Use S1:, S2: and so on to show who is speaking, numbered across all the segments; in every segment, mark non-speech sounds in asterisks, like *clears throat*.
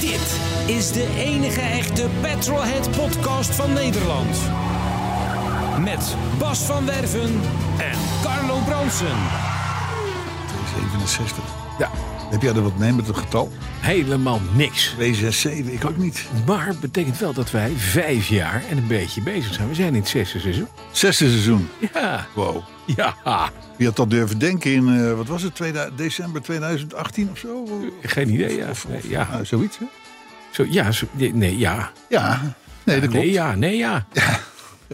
S1: Dit is de enige echte Petrolhead podcast van Nederland. Met Bas van Werven en Carlo Bronsen.
S2: 67. Ja. Heb jij er wat mee met het getal?
S3: Helemaal niks.
S2: 267, ik ook niet.
S3: Maar betekent wel dat wij vijf jaar en een beetje bezig zijn. We zijn in het zesde seizoen.
S2: Zesde seizoen.
S3: Ja,
S2: Wow.
S3: ja.
S2: Wie had dat durven denken in, eh, wat was het, 2000 december 2018 of zo?
S3: Geen idee, ja.
S2: Of, of-
S3: Nee, ja.
S2: nou, zoiets, hè?
S3: Zo, ja, zo, nee, nee, ja.
S2: Ja. Nee, dat klopt.
S3: Nee, ja, nee, ja.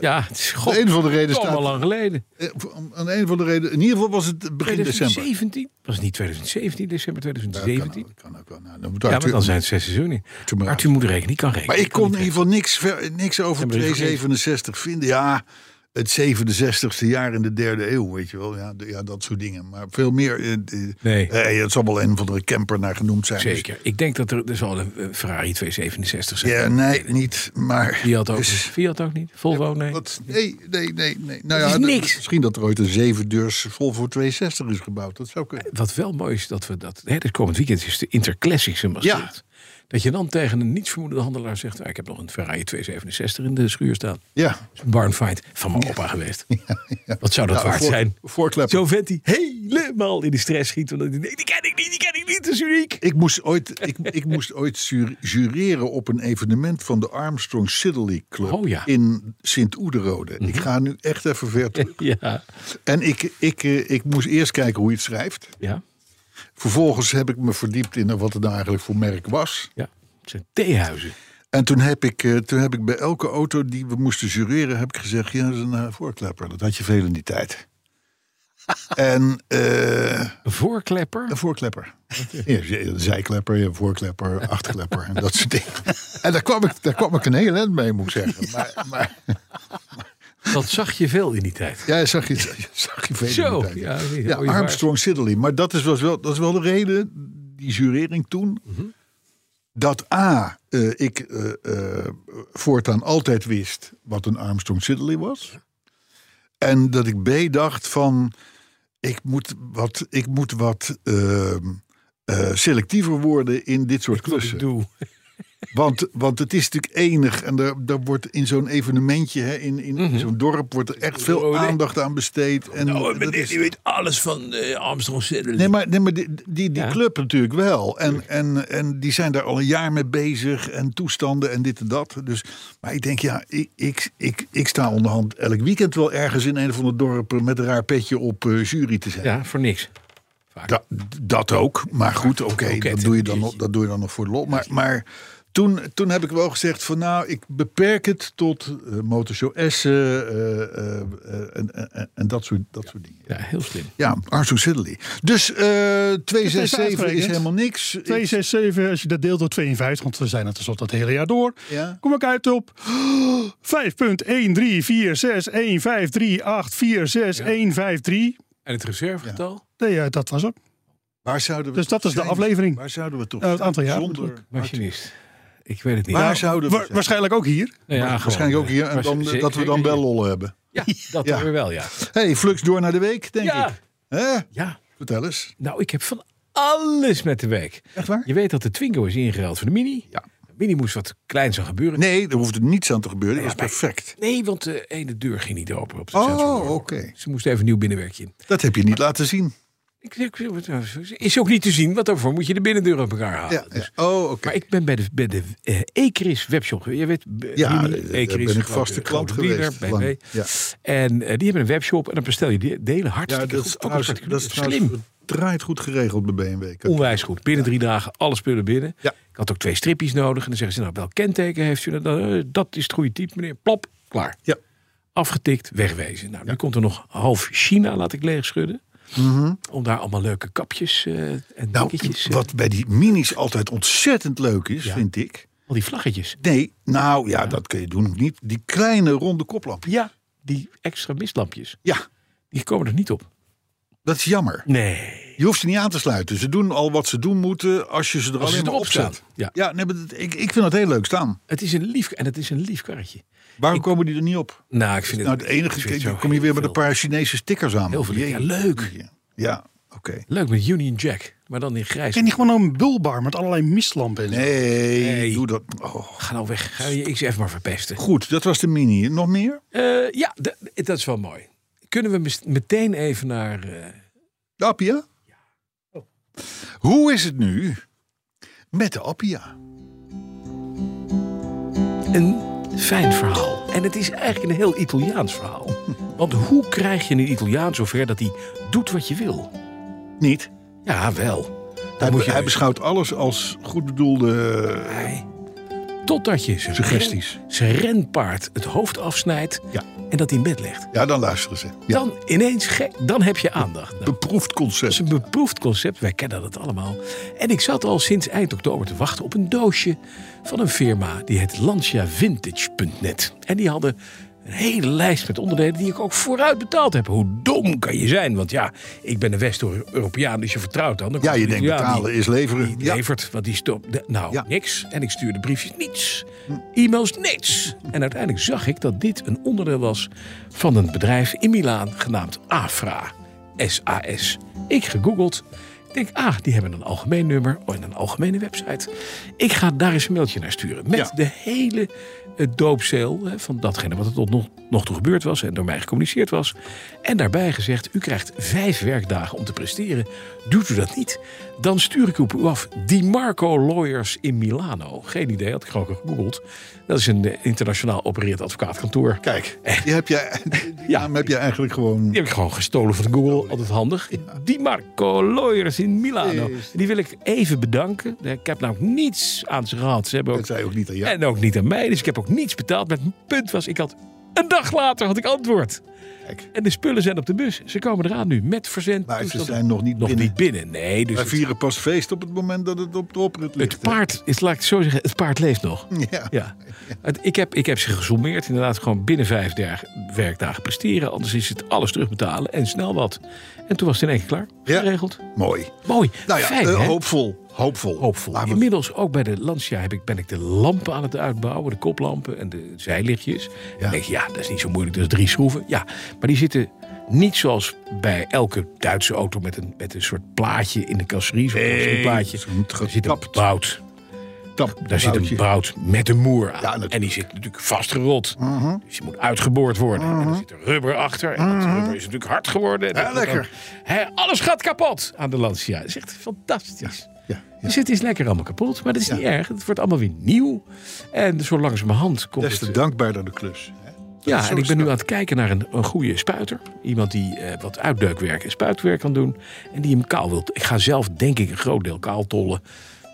S3: Ja, het is god,
S2: Om een van de redenen
S3: allemaal
S2: staat...
S3: lang geleden.
S2: eh, om- Aan een van de redenen... In ieder geval was het begin december.
S3: 2017? Was het niet 2017, december
S2: Ja, kan ook,
S3: 2017?
S2: Kan, ook wel. Nou, dan moet
S3: Ja, maar
S2: Arthur-
S3: dan zijn het zes seizoenen.
S2: Toen maar
S3: Arthur moet rekenen, die kan rekenen.
S2: Maar ik kon in ieder
S3: niet
S2: geval niks, ver- niks over
S3: Ja, maar dat is
S2: 267 vinden. Ja, het 67ste jaar in de derde eeuw, weet je wel. Ja, de- ja dat soort dingen. Maar veel meer... eh, eh,
S3: Nee.
S2: eh, het zal wel een of andere camper naar genoemd zijn. Dus-
S3: Zeker. Ik denk dat er, er zal een eh, Ferrari 267 zijn.
S2: ja, nee, niet. Maar...
S3: Fiat ook niet.
S2: dus-
S3: Fiat ook niet. Volvo, nee.
S2: Wat? Nee, nee, nee. nee. Nou
S3: Het is
S2: d-
S3: niks.
S2: Misschien dat er ooit een zevendeurs Volvo 62 is gebouwd. Dat zou kunnen.
S3: Wat wel mooi is dat we dat. Hè, dit komend weekend is de Interclassics in Maastricht. Dat je dan tegen een nietsvermoedende handelaar zegt: "Ah, Ik heb nog een Ferrari 267 in de schuur staan.
S2: Ja.
S3: Dat is een barn fight van mijn opa *laughs* geweest. Wat zou dat
S2: Ja,
S3: waard
S2: voor-
S3: zijn?
S2: voorkleppen.
S3: Zo'n vent die helemaal in de stress schiet. Omdat hij denkt: Die ken ik niet, die ken ik niet, dat is uniek. *laughs*
S2: Ik moest ooit, ik, ik moest ooit jur- jureren op een evenement van de Armstrong Siddeley Club
S3: Oh ja. Mhm.
S2: in Sint-Oederode. Ik ga nu echt even ver terug.
S3: Ja.
S2: En ik, ik, eh, ik moest eerst kijken hoe je het schrijft.
S3: Ja.
S2: Vervolgens heb ik me verdiept in wat het nou eigenlijk voor merk was.
S3: Ja. Het zijn theehuizen.
S2: En toen heb, ik, eh, toen heb ik bij elke auto die we moesten jureren, heb ik gezegd: ja, dat is een eh, voorklepper. Dat had je veel in die
S3: *laughs*
S2: tijd. en eh,
S3: Een voorklepper.
S2: een voorklepper. Ja, een zijklepper, je hebt een voorklepper, achterklepper en dat soort dingen. En daar kwam ik, daar kwam ik een heel eind mee, moet ik zeggen. Maar, maar
S3: Dat zag je veel in die tijd.
S2: ja, zag je, zag je veel in die
S3: Zo,
S2: tijd.
S3: ja, die-
S2: Ja,
S3: oh, je
S2: Armstrong Siddeley. Maar dat is, was wel, dat is wel de reden, die jurering toen.
S3: Mhm.
S2: Dat A, eh, ik eh, eh, voortaan altijd wist wat een Armstrong Siddeley was. En dat ik B dacht van, ik moet wat, ik moet wat ehm, eh, selectiever worden in dit soort
S3: Wat ik
S2: klussen.
S3: doe. *laughs*
S2: Want, want het is natuurlijk enig. En daar, daar wordt in zo'n evenementje, hè, in, in
S3: Mhm.
S2: zo'n dorp, wordt er echt
S3: Oh,
S2: veel
S3: nee.
S2: aandacht aan besteed. En
S3: Nou,
S2: dat
S3: meneer,
S2: is-
S3: die weet alles van eh, Armstrong Siddeley.
S2: Nee, maar, nee, maar die, die, die
S3: Ja.
S2: club natuurlijk wel. En, en, en die zijn daar al een jaar mee bezig. En toestanden en dit en dat. Dus, maar ik denk, ja, ik, ik, ik, ik sta onderhand elk weekend wel ergens in een of ander dorp met een raar petje op eh, jury te zijn.
S3: Ja, voor niks.
S2: Da- dat ook. Maar goed, oké,
S3: Kroket,
S2: dat, doe je dan
S3: jeetje.
S2: nog- dat doe je dan nog voor de lol. Maar, maar toen, toen heb ik wel gezegd van nou, ik beperk het tot eh, Motorshow Essen eh, eh, eh, en, en, en- en dat, soort, dat soort dingen.
S3: Ja, heel slim.
S2: Ja, Arthur Siddeley. Dus eh, 267 is
S4: uitgerekend.
S2: helemaal niks.
S4: 267, als je dat deelt door 52, want we zijn het tenslotte dat hele jaar door.
S2: Ja.
S4: Kom ik uit op 5.1346153846153.
S3: En het reservegetal?
S4: Nee, ja, dat was het.
S2: Waar zouden we
S4: Dus dat
S2: toch
S4: is de
S2: zijn?
S4: aflevering.
S2: Waar zouden we toch
S4: Eh, het aantal
S2: zijn
S4: jaar
S2: zonder...
S3: Machinist. Ik weet het niet.
S2: Waar
S4: Nou,
S2: zouden we
S4: wa-
S2: zijn?
S4: waarschijnlijk ook hier.
S3: Nou ja, gewoon,
S2: Waarschijnlijk ook
S3: eh,
S2: hier. En
S3: was-
S2: dan,
S3: zeker,
S2: dat we dan
S3: zeker.
S2: wel lol hebben.
S3: *laughs* Ja, dat
S2: Ja.
S3: doen we wel, ja.
S2: hey, flux door naar de week, denk
S3: Ja.
S2: ik. Hè?
S3: Ja,
S2: Vertel eens.
S3: nou, ik heb van alles met de week.
S2: Echt waar?
S3: Je weet dat de Twingo is ingeruild voor de Mini.
S2: Ja.
S3: De Mini moest wat klein zijn gebeuren.
S2: Nee, er hoefde niets aan te gebeuren. Dat
S3: Ja,
S2: was
S3: maar-
S2: perfect.
S3: Nee, want de ene deur ging niet open op de
S2: Oh, oké.
S3: sensor. Ze moest even een nieuw binnenwerkje in.
S2: Dat heb je niet laten zien.
S3: Ik, ik- is ook niet te zien, want daarvoor moet je de binnendeur op elkaar halen.
S2: Ja,
S3: Dus-
S2: ja. Oh, oké.
S3: Maar ik ben bij de, bij de eh, Ecris webshop geweest. Je weet, b-
S2: Ja,
S3: Mini,
S2: daar ben
S3: Ecris,
S2: ik
S3: grote-
S2: vaste klant
S3: grote dealer,
S2: geweest, lang.
S3: BMW.
S2: Ja.
S3: En eh, die hebben een webshop en dan bestel je de- delen hartstikke
S2: Ja, dat is
S3: goed. Ook
S2: trouwens,
S3: hartstikke
S2: dat is
S3: goed.
S2: trouwens
S3: slim.
S2: draait goed geregeld bij BMW. Kan-
S3: Onwijs goed. Binnen drie dagen alle spullen binnen.
S2: Ja.
S3: Ik had ook twee strippies nodig. En dan zeggen ze, nou, welk kenteken heeft u? Nou, eh, dat is het goede type, meneer. Plop, klaar.
S2: Ja.
S3: Afgetikt, wegwezen. Nou, nu komt er nog half China, laat ik leeg schudden. Om daar allemaal leuke kapjes eh, en
S2: Mhm. Nou,
S3: dingetjes. eh,
S2: wat bij die minis altijd ontzettend leuk is,
S3: Ja.
S2: vind ik.
S3: eh, al die vlaggetjes.
S2: Nee, nou ja, dat kun je doen of niet. Die kleine ronde koplampjes.
S3: Ja, die extra mistlampjes.
S2: Ja,
S3: Die komen er niet op.
S2: dat is jammer.
S3: Nee.
S2: Je hoeft ze niet aan te sluiten. Ze doen al wat ze doen moeten als je ze er
S3: Als
S2: alleen
S3: je
S2: maar
S3: erop
S2: op zet.
S3: staat. Ja.
S2: Ja, nee, maar dat- ik, ik vind dat heel leuk staan.
S3: Het is een lief, en het is een lief karretje.
S2: Waarom komen die er niet op?
S3: Nou, ik vind het,
S2: Nou, het
S3: ik
S2: enige,
S3: vind het
S2: kijk,
S3: zo
S2: dan kom je weer
S3: heel
S2: met een
S3: veel.
S2: paar Chinese stickers aan.
S3: Heel veel. Ja,
S2: Jee.
S3: leuk.
S2: Ja, oké.
S3: Leuk met Union Jack, maar dan in grijs.
S4: Ken je gewoon een bulbar met allerlei mistlampen in?
S2: Nee,
S3: Nee.
S2: doe dat. Oh.
S3: Ga nou weg, ga je XF maar verpesten.
S2: Goed, dat was de mini. Nog meer?
S3: Eh, ja, d- d- dat is wel mooi. Kunnen we mis- meteen even naar... eh,
S2: De Appia?
S3: Oh.
S2: Hoe is het nu met de Appia?
S3: Een fijn verhaal. En het is eigenlijk een heel Italiaans verhaal. Want hoe krijg je een Italiaan zover dat hij doet wat je wil?
S2: Niet.
S3: Ja, wel.
S2: Hij,
S3: moet je- dus
S2: hij beschouwt alles als eh, goed bedoelde...
S3: Hij- Totdat je zijn,
S2: Suggesties.
S3: ren- zijn renpaard het hoofd afsnijdt
S2: Ja.
S3: en dat in bed legt.
S2: Ja, dan luisteren ze. Ja.
S3: Dan ineens, gek, dan heb je aandacht. Nou,
S2: Beproefd
S3: dat is
S2: concept.
S3: een beproefd concept, wij kennen dat allemaal. En ik zat al sinds eind oktober te wachten op een doosje van een firma. Die heet LanciaVintage.net. En die hadden een hele lijst met onderdelen die ik ook vooruit betaald heb. Hoe dom kan je zijn? Want ja, ik ben een West-Europeaan, dus je vertrouwt dan. Dan
S2: Ja,
S3: komt
S2: je
S3: een
S2: denkt
S3: Italiaan die-
S2: betalen is leveren.
S3: die
S2: Ja.
S3: levert, want die stopt. de- Nou,
S2: Ja. Hm.
S3: niks. En ik stuurde briefjes niets. E-mails niets. En uiteindelijk zag ik dat dit een onderdeel was van een bedrijf in Milaan genaamd Afra. SAS. Ik gegoogeld. Ik denk, ah, die hebben een algemeen nummer oh, en een algemene website. Ik ga daar eens een mailtje naar sturen. Met
S2: Ja.
S3: de hele eh, doopcel eh, van datgene wat er tot nog, nog toe gebeurd was en door mij gecommuniceerd was. En daarbij gezegd, u krijgt vijf werkdagen om te presteren. Doet u dat niet, dan stuur ik op u af Di Marco Lawyers in Milano. Geen idee, had ik gewoon gegoogeld. Dat is een eh, internationaal opererend advocaatkantoor.
S2: Kijk,
S3: *laughs*
S2: die heb jij,
S3: Ja.
S2: ja. heb je eigenlijk gewoon...
S3: Die heb ik gewoon gestolen van Google, altijd handig. Di Marco Lawyers in Milano. Die wil ik even bedanken. Ik heb namelijk niets aan ze gehad. Ze hebben ook
S2: Dat zei ook niet aan jou.
S3: en ook niet aan mij, dus ik heb ook niets betaald. Maar het punt was, ik had een dag later had ik antwoord.
S2: Kijk.
S3: En de spullen zijn op de bus. Ze komen eraan nu met verzend.
S2: Maar ze
S3: toestanden.
S2: zijn nog niet
S3: nog
S2: binnen.
S3: niet binnen. Nee, dus
S2: Wij
S3: het,
S2: vieren pas feest op het moment dat het op de oprit ligt.
S3: het paard, is, laat ik het zo zeggen, het paard leeft
S2: *laughs*
S3: nog.
S2: Ja.
S3: Ja. Het- Ik, heb, ik heb ze gesommeerd. Inderdaad, gewoon binnen vijf der- werkdagen presteren. Anders is het alles terugbetalen en snel wat. En toen was het in één keer klaar.
S2: Ja.
S3: Geregeld.
S2: Mooi.
S3: Mooi.
S2: Nou ja,
S3: Fijn,
S2: eh,
S3: hè?
S2: hoopvol. Hoopvol.
S3: hoopvol.
S2: Laten we-
S3: Inmiddels ook bij de Lancia heb ik, ben ik de lampen aan het uitbouwen. De koplampen en de zijlichtjes. Ja. denk je, ja, dat is niet zo moeilijk. Dat is drie schroeven. Ja, maar die zitten niet zoals bij elke Duitse auto... met een, met een soort plaatje in de carrosserie. Zo'n carrosserie plaatje.
S2: zo'n
S3: Daar zit een
S2: getapt
S3: bout.
S2: Tap,
S3: Daar zit een
S2: touwtje.
S3: bout met een moer
S2: Ja,
S3: aan.
S2: natuurlijk. Mhm.
S3: en die zit natuurlijk vastgerot. Dus die moet uitgeboord worden. En er zit rubber achter. En dat rubber is natuurlijk hard geworden. En
S2: Ja,
S3: dat wordt
S2: lekker.
S3: dan- hè, alles gaat kapot aan de Lancia. Dat is echt fantastisch.
S2: Ja, ja.
S3: Dus het is lekker allemaal kapot, maar dat is niet erg. Het wordt allemaal weer nieuw. En zo langzamerhand komt
S2: Des
S3: het...
S2: te dankbaarder de klus. hè? Dat is
S3: ja,
S2: zo
S3: en ik ben nu
S2: snel.
S3: aan het kijken naar een, een goede spuiter. Iemand die eh, wat uitdeukwerk en spuitwerk kan doen. En die hem kaal wilt. Ik ga zelf denk ik een groot deel kaal tollen.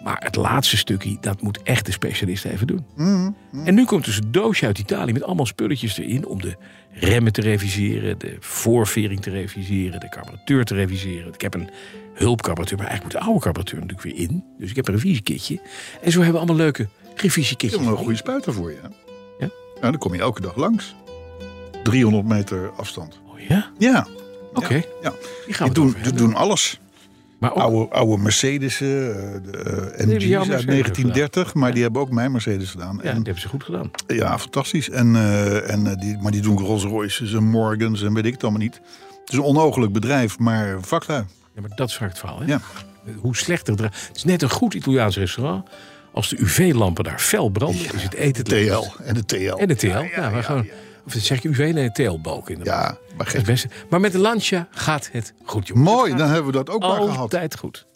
S3: Maar het laatste stukje, dat moet echt de specialist even doen.
S2: Mhm.
S3: En nu komt dus een doosje uit Italië met allemaal spulletjes erin... om de remmen te reviseren, de voorvering te reviseren... de carburateur te reviseren. Ik heb een hulpcarburateur, maar eigenlijk moet de oude carburateur natuurlijk weer in. Dus ik heb een revisiekitje. En zo hebben we allemaal leuke
S2: Ik
S3: revisiekitjes.
S2: heb wel een goede spuiter voor je. hè?
S3: Ja?
S2: Nou, dan kom je elke dag langs. 300 meter afstand.
S3: Oh ja?
S2: Ja.
S3: Oké.
S2: Ja.
S3: Die gaan
S2: Die
S3: we
S2: doen,
S3: erover
S2: die
S3: hebben.
S2: doen alles.
S3: Maar ook
S2: Oude, oude Mercedes eh, de, eh,
S3: hebben
S2: MG's
S3: jouw
S2: uit
S3: Mercedes
S2: 1930. Maar die hebben ook mijn Mercedes gedaan.
S3: Ja,
S2: En
S3: dat hebben ze goed gedaan.
S2: Ja, fantastisch. En, eh, en, eh, die, maar die doen Rolls Royces en Morgans en weet ik het allemaal niet. Het is een onogelijk bedrijf, maar vaklui.
S3: Ja, maar dat is vaak het verhaal. Hè?
S2: Ja.
S3: Hoe slechter het Het is net een goed Italiaans restaurant. Als de UV-lampen daar fel branden, is het eten het lekkerst.
S2: TL en de TL.
S3: En de TL. Ja,
S2: ja,
S3: maar
S2: ja,
S3: gewoon, Of zeg ik UV? Nee, TL-balk inderdaad.
S2: Ja, maar
S3: Het
S2: geen...
S3: beste. Maar met de Lancia gaat het goed, jongen.
S2: Mooi, dan hebben we dat ook maar gehad. En
S3: Altijd goed.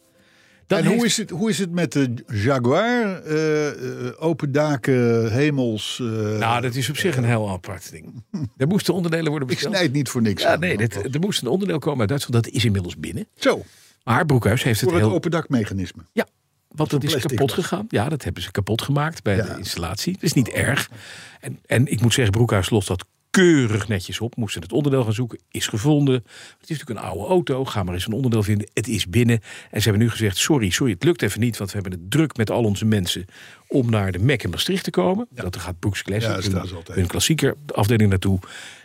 S3: Dan Oh, heeft-
S2: hoe, is het, hoe is het met de Jaguar? Eh, eh, open daken, hemels. eh,
S3: Nou, dat is op zich een heel apart ding. Er moesten onderdelen worden
S2: ik
S3: besteld.
S2: snijd niet voor niks.
S3: Ja,
S2: aan.
S3: nee, dit, er moest een onderdeel komen uit Duitsland. Dat is inmiddels binnen.
S2: Zo,
S3: Maar Broekhuis heeft het
S2: voor het
S3: heel
S2: open dakmechanisme.
S3: Ja, want dat is
S2: plastic
S3: kapot
S2: was.
S3: gegaan. Ja, dat hebben ze kapot gemaakt bij
S2: Ja.
S3: de installatie. Dat is niet erg. En, en ik moet zeggen, Broekhuis lost dat keurig netjes op. Moesten het onderdeel gaan zoeken, is gevonden. Het is natuurlijk een oude auto, ga maar eens een onderdeel vinden. Het is binnen. En ze hebben nu gezegd, sorry, sorry, het lukt even niet... want we hebben het druk met al onze mensen om naar de Mac in Maastricht te komen. Dat gaat Brooks Classic,
S2: Ja, dat staan ze
S3: hun,
S2: altijd.
S3: hun klassieker afdeling naartoe.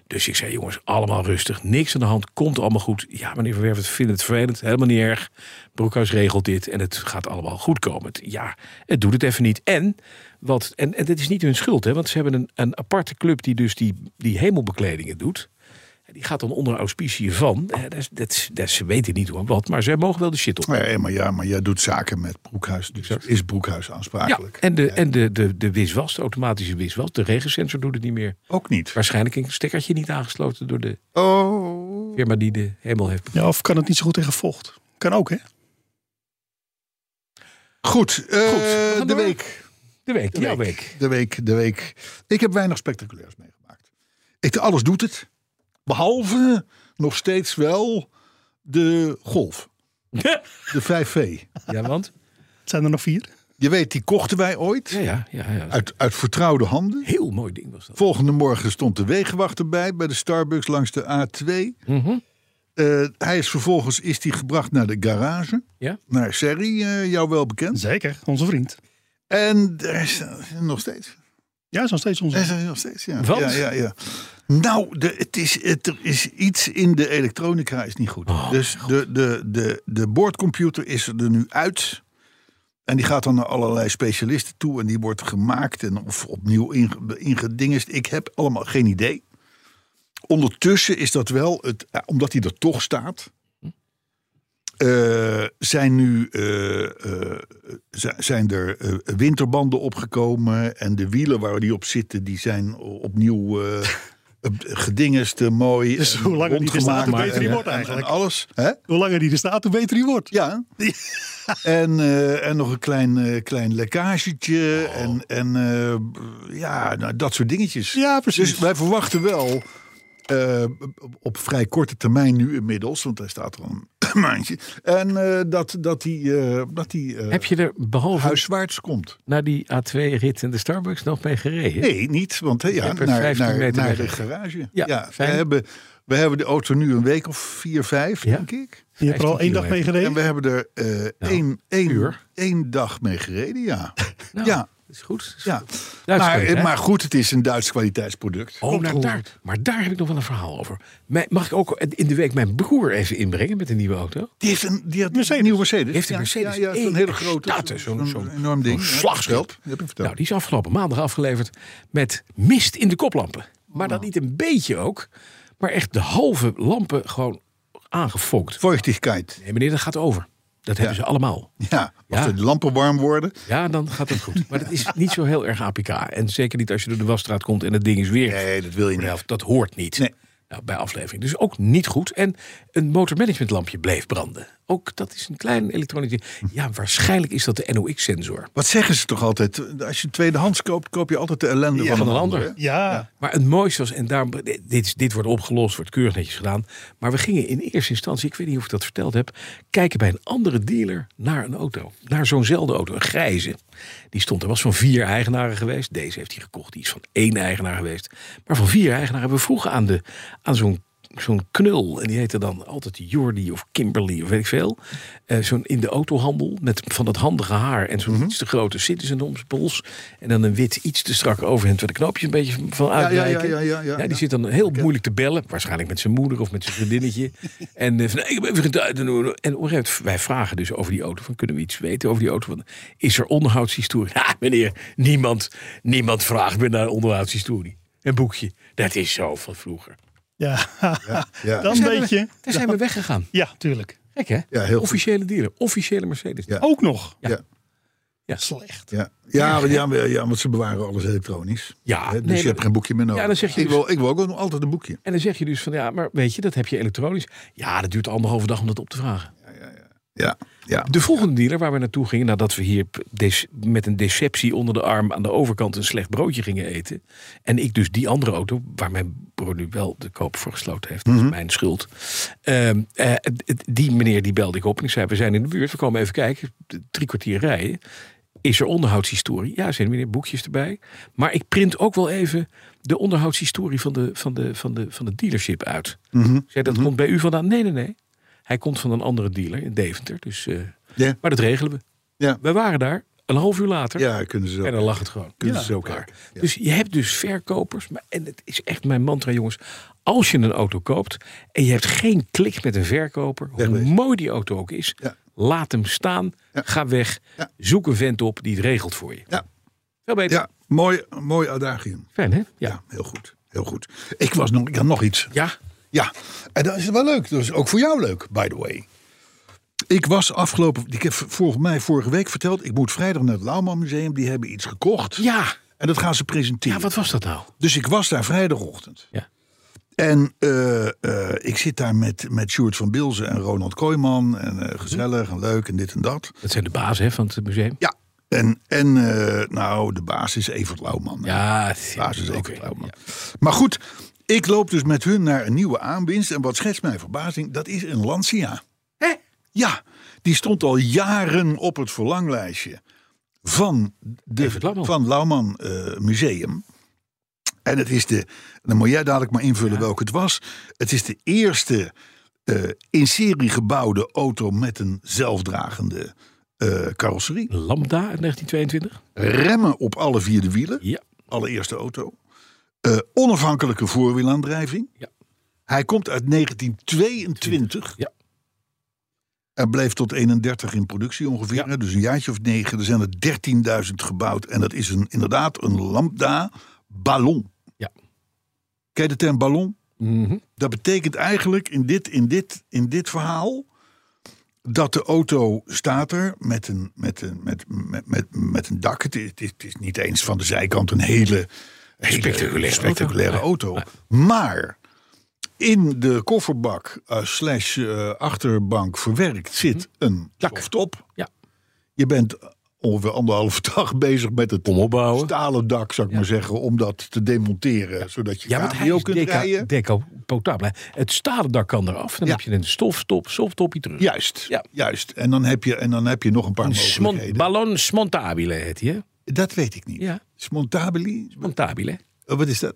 S3: Dus ik zei, jongens, allemaal rustig. Niks aan de hand, komt allemaal goed. Ja, meneer Van Werven, we vinden het vervelend. Helemaal niet erg. Broekhuis regelt dit en het gaat allemaal goed komen. Het- Ja, het doet het even niet. En, wat, en, en dit is niet hun schuld, hè, want ze hebben een, een aparte club... die dus die, die hemelbekledingen doet. En Die gaat dan onder auspicie van. Eh, dat, is- dat, is- dat, ze weten niet hoe en wat, maar zij mogen wel de shit op.
S2: Nee, maar ja, maar jij doet zaken met Broekhuis. Dus is Broekhuis
S3: Ja,
S2: aansprakelijk?
S3: en de, en de, de, de wiswas, de automatische wiswas, de regensensor doet het niet meer.
S2: Ook niet.
S3: Waarschijnlijk een stekkertje niet aangesloten door de
S2: Oh.
S3: firma die de hemel heeft.
S4: Ja, of kan het niet zo goed tegen vocht? Kan ook, hè?
S2: Goed, eh,
S3: we gaan
S2: de
S3: door.
S2: week.
S3: De week,
S2: De
S3: jouw
S2: week.
S3: week.
S2: De week, de week. Ik heb weinig spectaculairs meegemaakt. Ik, alles doet het. Behalve nog steeds wel de golf. De 5V.
S3: Ja, want?
S4: Zijn er nog vier?
S2: Je weet, die kochten wij ooit.
S3: Ja, ja, ja. ja.
S2: Uit, uit vertrouwde handen.
S3: Heel mooi ding was dat.
S2: Volgende morgen stond de wegenwacht erbij bij de Starbucks langs de A2. Eh, hij is vervolgens is die gebracht naar de garage,
S3: Ja?
S2: naar Serri, eh, jou wel bekend.
S4: Zeker, onze vriend.
S2: En er is eh, nog steeds.
S4: Ja, is nog steeds onze
S2: Er
S4: vriend.
S2: is nog steeds, ja.
S3: Wat?
S2: Ja, ja, ja. Nou, de, het is, het, er is iets in de elektronica is niet goed. dus de, de, de, de boordcomputer is er nu uit. En die gaat dan naar allerlei specialisten toe. En die wordt gemaakt en of opnieuw inge- ingedingest. Ik heb allemaal geen idee. Ondertussen is dat wel, het, eh, omdat hij er toch staat. eh, zijn nu eh, eh, zi- zijn er eh, winterbanden opgekomen. En de wielen waar die op zitten, die zijn o- opnieuw eh, *laughs* eh, gedingest, eh, mooi.
S4: Dus
S2: en
S4: hoe langer die er staat, hoe
S2: rondgemaakt
S4: beter die
S2: en-
S4: wordt
S2: en- en
S4: eigenlijk.
S2: alles. Hè?
S4: Hoe langer die er staat, hoe beter die wordt. *laughs*
S2: Ja. en, eh, en nog een klein, eh, klein lekkagetje.
S4: Oh.
S2: En, en eh, ja, nou, dat soort dingetjes.
S4: Ja, precies.
S2: Dus wij verwachten wel eh, op- op vrij korte termijn nu inmiddels, want hij staat er al een *clears throat* maandje. En eh, dat, dat hij eh, dat die, eh
S3: Heb je er behalve
S2: huiswaarts komt.
S3: naar die A2-rit en de Starbucks nog mee gereden?
S2: Nee, niet, want hè, ja,
S3: hebt er
S2: naar,
S3: 15
S2: naar,
S3: meter
S2: naar de
S3: weg.
S2: garage.
S3: Ja,
S2: we,
S3: fijn.
S2: hebben, we hebben de auto nu een week of vier, vijf,
S3: Ja.
S2: denk ik.
S4: Je hebt er al
S3: 15
S4: één dag mee
S2: En we
S4: gereden.
S2: hebben er eh één, één,
S3: uur.
S2: één dag mee gereden, ja.
S3: *laughs* Nou,
S2: ja,
S3: Dat is goed.
S2: ja.
S3: Duits kwaliteit.
S2: maar, eh, maar goed, het is een Duits kwaliteitsproduct.
S3: Oh, nou, daar, maar daar heb ik nog wel een verhaal over. Mijn- Mag ik ook in de week mijn broer even inbrengen met een nieuwe auto?
S2: Die heeft een, die had een nieuwe Mercedes.
S3: Heeft een
S2: Ja,
S3: Mercedes.
S2: Ja, ja zo'n
S3: Eén
S2: hele grote.
S3: status, zo'n- zo'n-
S2: enorm ding.
S3: zo'n
S2: Ja,
S3: slagschip.
S2: verteld. Die heb ik verteld.
S3: Nou, die is afgelopen maandag afgeleverd met mist in de koplampen. Maar dat niet een beetje ook, maar echt de halve lampen gewoon aangefokt.
S2: Vochtigkeit.
S3: Nee, meneer, dat gaat over. Dat hebben ze allemaal.
S2: Ja, als
S3: Ja.
S2: de lampen warm worden.
S3: Ja, dan gaat het goed. Maar dat is niet zo heel erg APK. En zeker niet als je door de wasstraat komt en het ding is weer.
S2: Nee, dat wil je
S3: voor de
S2: niet.
S3: helft. Dat hoort niet.
S2: Nee.
S3: Nou, bij aflevering. Dus ook niet goed. En een motormanagementlampje bleef branden. Ook dat is een klein elektronisch ding. Ja, waarschijnlijk is dat de NOx-sensor.
S2: Wat zeggen ze toch altijd? Als je tweedehands koopt, koop je altijd de ellende van,
S3: van
S2: een
S3: een
S2: ander.
S3: ander.
S2: hè?
S4: Ja,
S3: Maar het mooiste was, en daarom, dit, dit wordt opgelost, wordt keurig netjes gedaan. Maar we gingen in eerste instantie, ik weet niet of ik dat verteld heb, kijken bij een andere dealer naar een auto. Naar zo'nzelfde auto, een grijze. Die stond er, was van vier eigenaren geweest. Deze heeft hij gekocht, die is van één eigenaar geweest. Maar van vier eigenaren, we vroegen aan, de, aan zo'n zo'n knul. En die heette dan altijd Jordi of Kimberly of weet ik veel. Eh, zo'n in de autohandel met van dat handige haar en zo'n iets te grote citizendomspols. En dan een wit iets te strak overhemd waar de knoopjes een beetje van uitwijken.
S2: ja, ja, ja, ja,
S3: die
S2: ja.
S3: zit dan heel moeilijk te bellen. Waarschijnlijk met zijn moeder of met zijn
S2: *laughs*
S3: vriendinnetje. en eh, van, "Nee, ik heb even geduid. En op een gegeven moment, wij vragen dus over die auto. Van, kunnen we iets weten over die auto? Van, is er onderhoudshistorie? *laughs* Ja, meneer, niemand, niemand vraagt meer naar onderhoudshistorie. Een boekje. Dat is zo van vroeger.
S4: ja.
S2: ja.
S4: *laughs* dan
S3: Zijn we-
S4: weet je.
S3: Daar zijn we weggegaan.
S4: Ja, tuurlijk.
S3: Gek hè?
S2: Ja, heel goed.
S3: officiële dealer, officiële Mercedes.
S2: Ja.
S4: Ook nog.
S2: Ja.
S3: Ja.
S4: Slecht.
S2: Ja. Ja, want- ja, maar- ja, want ze bewaren alles elektronisch.
S3: Ja,
S2: Hè, dus
S3: nee,
S2: je hebt
S3: maar-
S2: geen boekje meer nodig.
S3: Ja, dan zeg je
S2: ik,
S3: dus-
S2: wil, ik wil ook nog altijd een boekje.
S3: En dan zeg je dus van ja, maar weet je, dat heb je elektronisch. Ja, dat duurt anderhalve dag om dat op te vragen.
S2: Ja, ja.
S3: De volgende dealer waar we naartoe gingen, nadat we hier p- des- met een deceptie onder de arm aan de overkant een slecht broodje gingen eten. En ik dus die andere auto, waar mijn broer nu wel de koop voor gesloten heeft, dat is mijn schuld. Ehm, eh, het- het- die meneer die belde ik op en ik zei, we zijn in de buurt, we komen even kijken. D- Drie kwartier rijden. Is er onderhoudshistorie? Ja, zijn meneer boekjes erbij. Maar ik print ook wel even de onderhoudshistorie van de, van de, van de, van de dealership uit. Zei, dat komt bij u vandaan? Nee, nee, nee. Hij komt van een andere dealer in Deventer. Dus, eh,
S2: Ja.
S3: Maar dat regelen we.
S2: Ja.
S3: Wij waren daar een half uur later.
S2: Ja, kunnen ze
S3: En
S2: zo.
S3: dan lag het gewoon.
S2: Kunnen
S3: Ja,
S2: ze zo
S3: klaar.
S2: kijken, ja.
S3: Dus je hebt dus verkopers. Maar, en het is echt mijn mantra, jongens. Als je een auto koopt en je hebt geen klik met een verkoper, hoe
S2: Wegwezen.
S3: mooi die auto ook is,
S2: Ja.
S3: laat hem staan. Ga weg.
S2: Ja.
S3: Zoek een vent op die het regelt voor je.
S2: Ja.
S3: Veel beter.
S2: Ja, mooi, mooi adagium.
S3: Fijn, hè?
S2: Ja.
S3: Ja.
S2: heel goed. Heel goed. Ik, was nog, ik had nog iets.
S3: Ja.
S2: Ja, en dat is wel leuk. Dat is ook voor jou leuk, by the way. Ik was afgelopen, ik heb volgens mij vorige week verteld, ik moet vrijdag naar het Lauwman Museum. Die hebben iets gekocht.
S3: Ja.
S2: En dat gaan ze presenteren.
S3: Ja, wat was dat nou?
S2: Dus ik was daar vrijdagochtend.
S3: Ja.
S2: En eh, eh, ik zit daar met, met Sjoerd van Bilzen en Ronald Kooijman. En eh, gezellig en leuk en dit en dat.
S3: Dat zijn de bazen hè, van het museum.
S2: Ja. En, en eh, nou, de baas is Evert Lauwman.
S3: Ja, het-
S2: De baas is
S3: oké.
S2: Evert Lauwman. Maar goed, ik loop dus met hun naar een nieuwe aanwinst. En wat schetst mijn verbazing, dat is een Lancia.
S3: Hè?
S2: Ja, die stond al jaren op het verlanglijstje van, de,
S3: Evert Lauwman.
S2: van Lauwman eh, Museum. En het is de, dan moet jij dadelijk maar invullen welke het was. Het is de eerste eh, in serie gebouwde auto met een zelfdragende eh, carrosserie.
S3: Lambda uit 1922.
S2: Remmen op alle vier de wielen
S3: Ja.
S2: allereerste auto. Eh, onafhankelijke voorwielaandrijving.
S3: Ja.
S2: Hij komt uit 1922.
S3: Ja.
S2: En bleef tot 31 in productie ongeveer. hè, Dus een jaartje of negen. Er zijn er 13.000 gebouwd. En dat is een, inderdaad een lambda ballon.
S3: Ja.
S2: Ken je de term ballon?
S3: Mhm.
S2: Dat betekent eigenlijk in dit, in dit, in dit verhaal... dat de auto staat er met een, met een, met, met, met, met een dak. Het is, het is- het is niet eens van de zijkant een hele, hele
S3: Spectaculaire
S2: spectaculaire auto. Maar in de kofferbak eh, slash eh, achterbank verwerkt zit een softtop.
S3: Mhm. Ja.
S2: Je bent ongeveer anderhalve dag *laughs* bezig met het
S3: Omopbouwen.
S2: stalen dak, zou ik maar zeggen... om dat te demonteren, zodat je
S3: Ja, want hij
S2: cabrio
S3: is
S2: kunt
S3: deca,
S2: rijden.
S3: deco potabel. Het stalen dak kan eraf. Dan
S2: Ja.
S3: heb je een stoftop, softtopje terug.
S2: Juist,
S3: Ja.
S2: juist. En dan, heb je, en dan heb je nog een paar
S3: Een smon,
S2: mogelijkheden.
S3: ballon smontabile heet hij, hè?
S2: Dat weet ik niet.
S3: Ja.
S2: Smontabili?
S3: Montabile.
S2: Oh, wat is dat?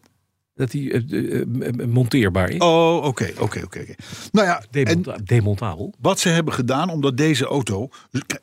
S3: Dat hij eh, eh, eh, eh, monteerbaar is.
S2: Oh, oké, oké, oké. oké. Nou ja, en
S3: Demonta- demontabel.
S2: wat ze hebben gedaan, omdat deze auto...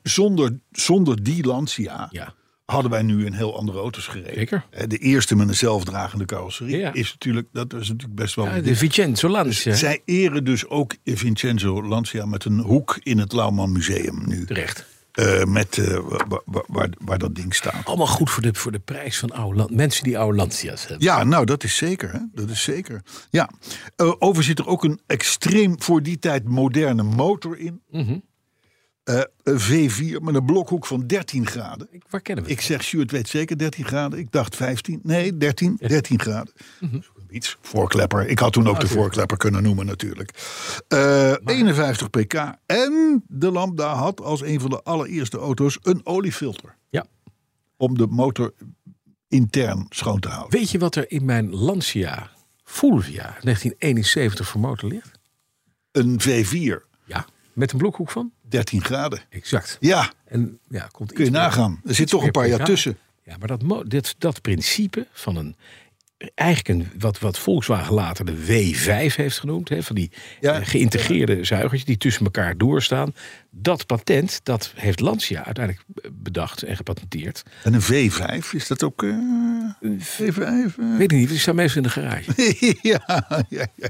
S2: zonder, zonder die Lancia
S3: Ja.
S2: hadden wij nu een heel andere auto's gereden.
S3: Zeker.
S2: Hè, De eerste met een zelfdragende carrosserie
S3: Ja.
S2: is natuurlijk... dat is natuurlijk best wel...
S3: Ja, de Vincenzo Lancia.
S2: Zij eren dus ook Vincenzo Lancia met een hoek in het Lauwman Museum nu.
S3: Terecht.
S2: Eh, met, eh, wa- wa- wa- waar, waar dat ding staat.
S3: Allemaal goed voor de, voor de prijs van oude land, mensen die oude Lancia's hebben.
S2: Ja, nou, dat is zeker. Hè? Dat is zeker. Ja. Eh, over zit er ook een extreem voor die tijd moderne motor in. Eh, een V4 met een blokhoek van 13 graden.
S3: Ik- Waar kennen we
S2: Ik zeg, Stuart weet zeker 13 graden. Ik dacht 15. Nee, 13. 13 graden. Iets. Voorklepper. Ik had toen ook de voorklepper kunnen noemen natuurlijk. Eh, 51 pk. En de Lambda had als een van de allereerste auto's een oliefilter.
S3: Ja.
S2: Om de motor intern schoon te houden.
S3: Weet je wat er in mijn Lancia Fulvia 1971 voor motor ligt?
S2: Een V4.
S3: Ja. Met een blokhoek van?
S2: 13 graden.
S3: Exact.
S2: Ja,
S3: En ja, komt
S2: kun je
S3: iets meer-
S2: nagaan. Er zit toch een paar jaar tussen.
S3: Ja, maar dat, mo- dit, dat principe van een. Eigenlijk een, wat, wat Volkswagen later de W5 heeft genoemd. Hè, van die
S2: Ja.
S3: eh, geïntegreerde zuigertjes die tussen elkaar doorstaan. Dat patent, dat heeft Lancia uiteindelijk eh, bedacht en gepatenteerd.
S2: En een V5, is dat ook... eh, V5? eh?
S3: Weet ik niet, die staan meestal in de
S2: *laughs*
S3: garage.
S2: ja, ja, ja.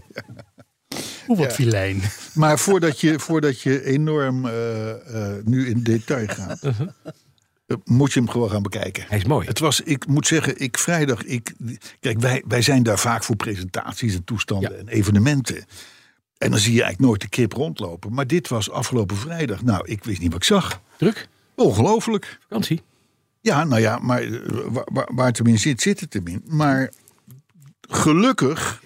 S4: Hoe wat filijn.
S2: Maar voordat je, voordat je enorm eh, eh, nu in detail *laughs* gaat... eh, moet je hem gewoon gaan bekijken.
S3: Hij is mooi.
S2: Het was, ik moet zeggen, ik vrijdag. Ik, kijk, wij, wij zijn daar vaak voor presentaties en toestanden
S3: Ja.
S2: en evenementen. En dan zie je eigenlijk nooit de kip rondlopen. Maar dit was afgelopen vrijdag. Nou, ik wist niet wat ik zag.
S3: Druk,
S2: Ongelooflijk.
S3: vakantie.
S2: Ja, nou ja, maar eh, waar, waar, waar het hem in zit, zit het hem in. Maar gelukkig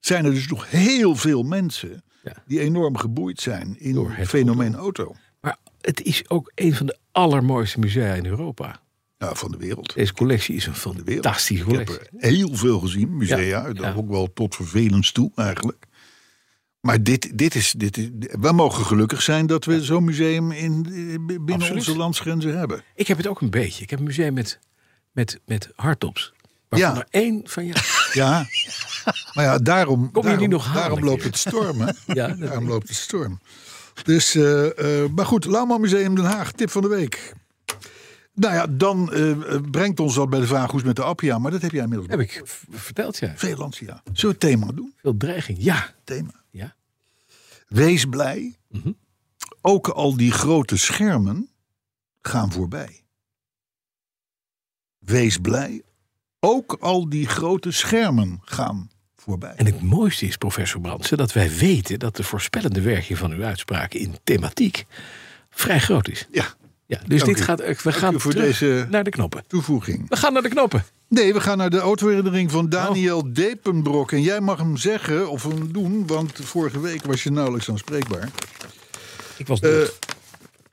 S2: zijn er dus nog heel veel mensen
S3: Ja.
S2: die enorm geboeid zijn in
S3: Door
S2: het
S3: het
S2: fenomeen auto.
S3: Maar het is ook een van de allermooiste musea in Europa.
S2: Ja, van de wereld.
S3: Deze collectie is een fantastische
S2: Ik heb
S3: collectie.
S2: er heel veel gezien, musea,
S3: Ja,
S2: dat
S3: ja.
S2: ook wel tot vervelens toe eigenlijk. Maar dit, dit is, dit is, wij mogen gelukkig zijn dat we zo'n museum in, eh, binnen
S3: Absoluut.
S2: onze landsgrenzen hebben.
S3: Ik heb het ook een beetje. Ik heb een museum met, met, met hardtops.
S5: Waarvan
S2: Ja.
S5: er één van jou.
S2: Ja. Maar ja, daarom,
S5: Kom je die
S2: daarom,
S5: nog halen
S2: daarom
S5: een
S2: loopt
S5: keer?
S2: het storm. Hè? *laughs*
S5: Ja, dat
S2: daarom loopt het storm. Dus, eh, eh, maar goed, Lauwman Museum Den Haag, tip van de week. Nou ja, dan eh, brengt ons dat bij de vraag hoe is het met de Appia. Maar dat heb jij inmiddels
S5: Heb ik v- verteld, ja.
S2: Zeeland, ja. Zullen we het thema doen?
S5: Veel dreiging. Ja.
S2: Thema.
S5: Ja. Mhm.
S2: Wees blij. Ook al die grote schermen gaan voorbij. Wees blij. Ook al die grote schermen gaan voorbij.
S5: En het mooiste is, professor Brandsen, dat wij weten dat de voorspellende werking van uw uitspraken in thematiek vrij groot is.
S2: Ja,
S5: Ja, dus
S2: Dank
S5: dit
S2: u.
S5: gaat, eh, we gaan
S2: u voor
S5: terug
S2: deze-
S5: naar de knoppen.
S2: toevoeging.
S5: We gaan naar de knoppen.
S2: Nee, we gaan naar de autoherinnering van Daniel Depenbrok. En jij mag hem zeggen of hem doen, want vorige week was je nauwelijks aanspreekbaar.
S5: Ik was
S2: Eh,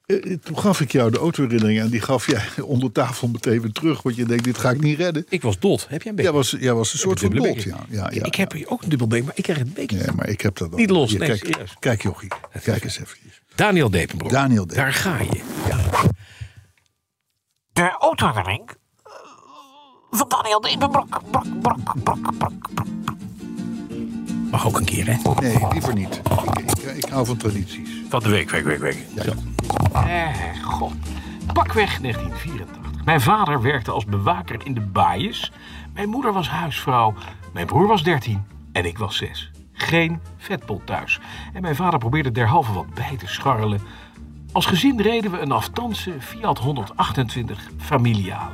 S2: eh, toen gaf ik jou de autoherinnering en die gaf jij *laughs* onder tafel meteen weer terug. Want je denkt, dit ga ik niet redden.
S5: ik was dot. Heb jij een beetje?
S2: Jij was, jij was een soort van
S5: dubbele
S2: bot,
S5: beker.
S2: ja. ja, ja
S5: ik heb hier ook een dubbel been, maar ik krijg het beetje.
S2: Nee, maar ik heb dat wel.
S5: Niet los, nee, serieus.
S2: kijk, kijk, jochie. Kijk eens even.
S5: Daniel Depenbroek.
S2: Daniel Depenbroek.
S5: Daar ga je.
S3: De autoherinnering eh, van Daniel Depenbroek. Brok, brok, brok, brok, brok.
S5: Mag ook een keer, hè?
S2: Nee, liever niet. Ik, ik, ik hou van tradities.
S5: Van de week, week, week, week.
S3: Eh, god. Pakweg 1984. Mijn vader werkte als bewaker in de baaiers. Mijn moeder was huisvrouw. Mijn broer was 13 en ik was 6. Geen vetpot thuis. En mijn vader probeerde derhalve wat bij te scharrelen. Als gezin reden we een aftandse Fiat 128 familiaal.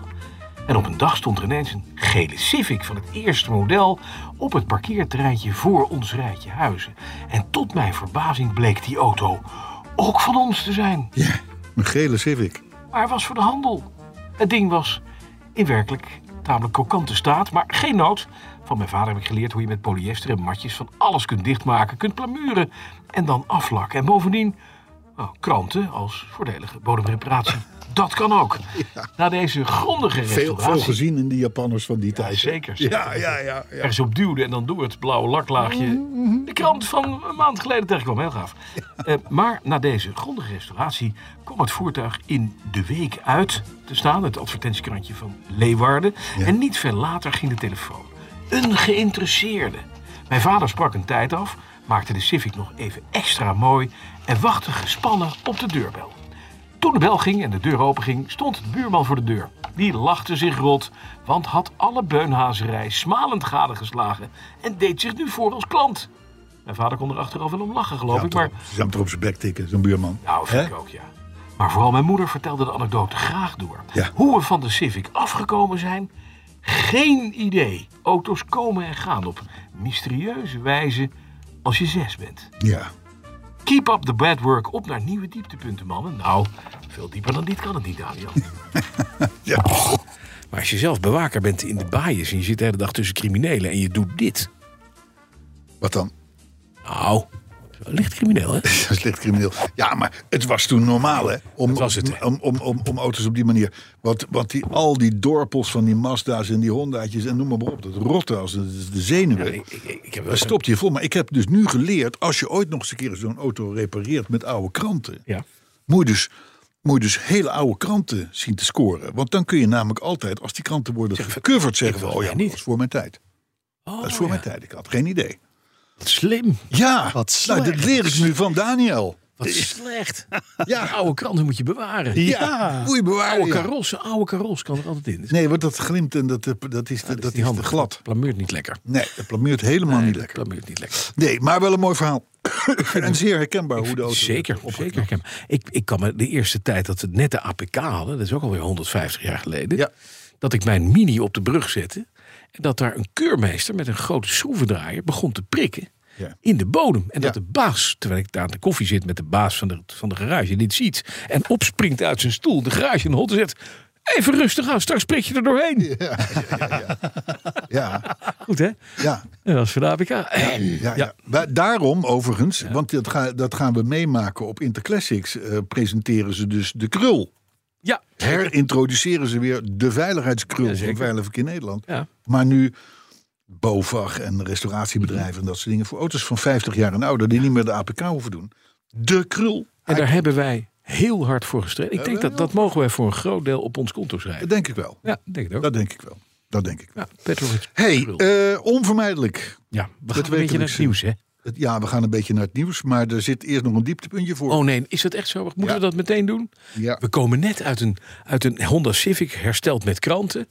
S3: En op een dag stond er ineens een gele Civic van het eerste model op het parkeerterreintje voor ons rijtje huizen. En tot mijn verbazing bleek die auto ook van ons te zijn
S2: Ja. Een gele Civic.
S3: maar hij was voor de handel. Het ding was in werkelijk tamelijk kokante staat, maar geen nood. Van mijn vader heb ik geleerd hoe je met polyester en matjes van alles kunt dichtmaken, kunt plamuren en dan aflakken. En bovendien nou, kranten als voordelige bodemreparatie. Dat kan
S2: *laughs*
S3: ook. Na deze
S2: Veel,
S3: grondige restauratie...
S2: veel gezien in de Japanners van die tijd. hè?
S3: zeker, zeker.
S2: Ja, ja, ja. ja.
S3: ergens op duwde en dan door het blauwe laklaagje de krant van een maand geleden tegenkwam. Heel gaaf. Eh, maar na deze grondige restauratie kwam het voertuig in de week uit te staan. Het advertentiekrantje van Leeuwarden. En niet veel later ging de telefoon. Een geïnteresseerde. Mijn vader sprak een tijd af, maakte de Civic nog even extra mooi en wachtte gespannen op de deurbel. Toen de bel ging en de deur openging, stond de buurman voor de deur. Die lachte zich rot, want had alle beunhazerij smalend gadegeslagen en deed zich nu voor als klant. Mijn vader kon er achteraf wel om lachen, geloof ik, maar...
S2: Ze zijn er op zijn bek tikken, zo'n buurman.
S3: Nou, vind
S2: Hè?
S3: ik ook, ja. Maar vooral mijn moeder vertelde de anekdote graag door.
S2: Ja.
S3: Hoe we van de Civic afgekomen zijn? Geen idee. Auto's komen en gaan op mysterieuze wijze als je zes bent.
S2: Ja.
S3: Keep up the bad work op naar nieuwe dieptepunten, mannen. Nou, veel dieper dan dit kan het niet, Daniel.
S2: ja.
S5: Maar als je zelf bewaker bent in de baaiers en je zit de hele dag tussen criminelen en je doet dit.
S2: Wat dan?
S5: Nou, licht crimineel, hè?
S2: Dat is licht crimineel. Ja, maar het was toen normaal, hè? Om,
S5: was het, hè?
S2: Om, om, om, om auto's op die manier. Want, want die, al die dorpels van die Mazda's en die Hondaatjes en noem maar op. Dat rotte als de, de zenuwen.
S5: Ik, ik, ik heb wel
S2: Dat stopt je vol. Maar ik heb dus nu geleerd, als je ooit nog eens een keer zo'n auto repareert met oude kranten,
S5: Ja.
S2: moet je dus, moet je dus hele oude kranten zien te scoren. Want dan kun je namelijk altijd, als die kranten worden gecoverd, zeggen van,
S5: was
S2: oh ja,
S5: mij
S2: maar dat
S5: niet.
S2: is voor mijn tijd.
S5: Oh,
S2: dat is voor
S5: ja.
S2: mijn tijd, ik had geen idee.
S5: Slim.
S2: Ja,
S4: Wat
S2: nou, dat
S4: slecht.
S2: leer ik nu van Daniel.
S5: Wat slecht.
S2: Ja.
S5: Oude kranten moet je bewaren.
S2: Ja, moet je bewaren.
S5: Oude
S2: ja.
S5: karossen, oude karos kan er altijd in. Dat is
S2: Nee, want dat glimt en dat, eh, dat is, dat
S5: niet
S2: is te glad.
S5: Plameurt niet lekker.
S2: Nee, dat plameert helemaal niet lekker.
S5: Plameurt niet lekker.
S2: Nee, maar wel een mooi verhaal. *coughs* en zeer herkenbaar hoe de auto...
S5: Zeker, zeker. Ik, heb- ik, ik kan me de eerste tijd dat we net de APK hadden, dat is ook alweer 150 jaar geleden,
S2: Ja.
S5: dat ik mijn mini op de brug zette en dat daar een keurmeester met een grote schroevendraaier begon te prikken
S2: Ja.
S5: in de bodem. En dat
S2: Ja.
S5: de baas, terwijl ik daar aan de koffie zit met de baas van de, van de garage, dit ziet en opspringt uit zijn stoel, de garage in de holte zet. Even rustig aan, straks prik je er doorheen.
S2: Ja,
S5: Goed hè?
S2: ja.
S5: En dat is voor de APK.
S2: Ja, ja. Wij- daarom overigens, want dat, ga- dat gaan we meemaken op Interclassics, eh, presenteren ze dus de krul.
S5: ja.
S2: Herintroduceren ze weer de veiligheidskrul
S5: zeker.
S2: van Veilig Verkeer Nederland.
S5: Ja.
S2: Maar nu BOVAG en restauratiebedrijven en dat soort dingen voor auto's van 50 jaar en ouder die niet meer de APK hoeven doen. De krul.
S5: En daar hebben wij heel hard voor gestreden. Ik denk dat dat mogen wij voor een groot deel op ons konto schrijven.
S2: Dat denk ik wel.
S5: Ja, ik denk het ook.
S2: Dat denk ik wel. Dat denk ik.
S3: Ja, Petrovic.
S2: Hey,
S3: Krul.
S2: eh, onvermijdelijk.
S3: ja, we gaan een
S2: weten
S3: beetje
S2: we
S3: naar het
S2: dus.
S3: nieuws, hè?
S2: Het- Ja, we gaan een beetje naar het nieuws, maar er zit eerst nog een dieptepuntje voor.
S3: Oh nee, is dat echt zo? Moeten
S2: Ja.
S3: we dat meteen doen?
S2: ja.
S3: We komen net uit een, uit een Honda Civic hersteld met kranten.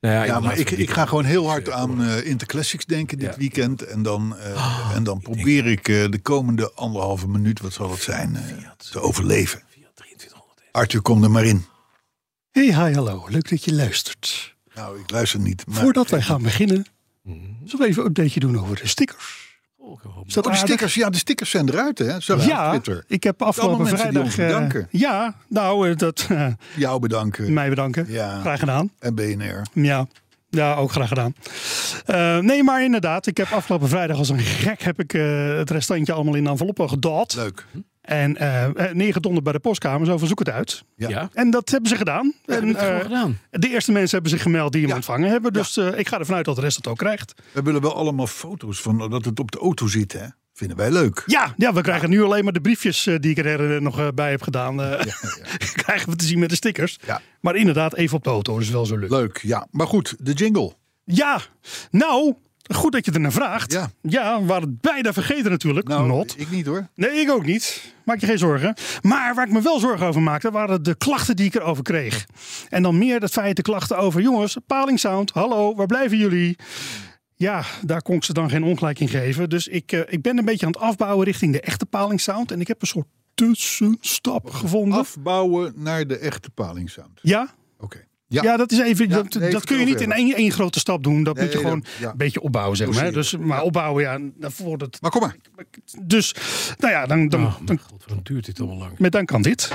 S3: Nou ja,
S2: Ja,
S3: inderdaad,
S2: maar ik,
S3: die-
S2: ik ga gewoon heel hard aan eh Interclassics denken dit
S3: Ja.
S2: weekend. En dan, eh, en dan probeer ik eh, de komende anderhalve minuut, wat zal het zijn, eh, te overleven.
S3: 2300.
S2: Arthur, kom er maar in.
S4: Hey, hi, hallo. Leuk dat je luistert.
S2: Nou, Mhm. ik luister niet. Maar
S4: Voordat wij gaan beginnen, zullen we even een updateje doen over de stickers.
S3: Oh, ik hoop-
S4: Is dat
S2: Oh, de
S4: aardig?
S2: stickers, ja, de stickers zijn eruit, hè? Zag je op
S4: Ja,
S2: Twitter.
S4: ik heb afgelopen
S2: mensen die
S4: vrijdag...
S2: ons
S4: eh,
S2: bedanken.
S4: ja, nou, eh, dat... eh,
S2: Jou bedanken
S4: mij bedanken.
S2: Ja.
S4: Graag gedaan.
S2: en BNR.
S4: Ja, ja ook graag gedaan. Eh, nee, maar inderdaad, ik heb afgelopen vrijdag als een gek heb ik, eh, het restantje allemaal in enveloppen gedot.
S2: Leuk.
S4: En eh, eh, neergedonderd bij de postkamer, zo van zoek het uit.
S2: Ja.
S3: Ja,
S4: En dat hebben ze gedaan. en,
S3: dat hebben we
S4: eh,
S3: gedaan.
S4: de eerste mensen hebben zich gemeld die hem
S2: Ja.
S4: ontvangen hebben. Dus eh, ik ga ervan uit dat de rest het ook krijgt.
S2: We willen wel allemaal foto's van dat het op de auto zit, hè? Vinden wij leuk.
S4: Ja, ja we krijgen nu alleen maar de briefjes eh, die ik er eh, nog eh, bij heb gedaan. eh, *laughs* krijgen we te zien met de stickers.
S2: Ja.
S4: Maar inderdaad, even op de auto. Dat is wel zo leuk.
S2: Leuk, ja. Maar goed, de jingle.
S4: Ja, nou, goed dat je er naar vraagt.
S2: Ja.
S4: ja we waren het bijna vergeten natuurlijk.
S2: Nou,
S4: Not.
S2: ik niet hoor.
S4: Nee, ik ook niet. Maak je geen zorgen. Maar waar ik me wel zorgen over maakte, waren de klachten die ik erover kreeg. En dan meer dat feit de klachten over, jongens, Paling Sound, hallo, waar blijven jullie? Ja, daar kon ik ze dan geen ongelijk in geven. Dus ik, eh, ik ben een beetje aan het afbouwen richting de echte Paling Sound. En ik heb een soort tussenstap gevonden.
S2: Afbouwen naar de echte palingsound.
S4: Ja?
S2: Oké. Ja.
S4: Ja. dat is even.
S2: Ja,
S4: dat
S2: nee,
S4: dat kun je niet in
S2: vertel
S4: één, één grote stap doen. Dat
S2: Nee,
S4: moet je
S2: nee,
S4: gewoon
S2: dat- ja.
S4: een beetje opbouwen, zeg maar. hè. Dus, maar opbouwen, ja, daarvoor dat.
S2: Maar kom maar.
S4: Dus, nou ja, dan, dan,
S3: Oh,
S4: dan,
S3: mijn god, wat duurt dit allemaal lang.
S4: met dan kan dit.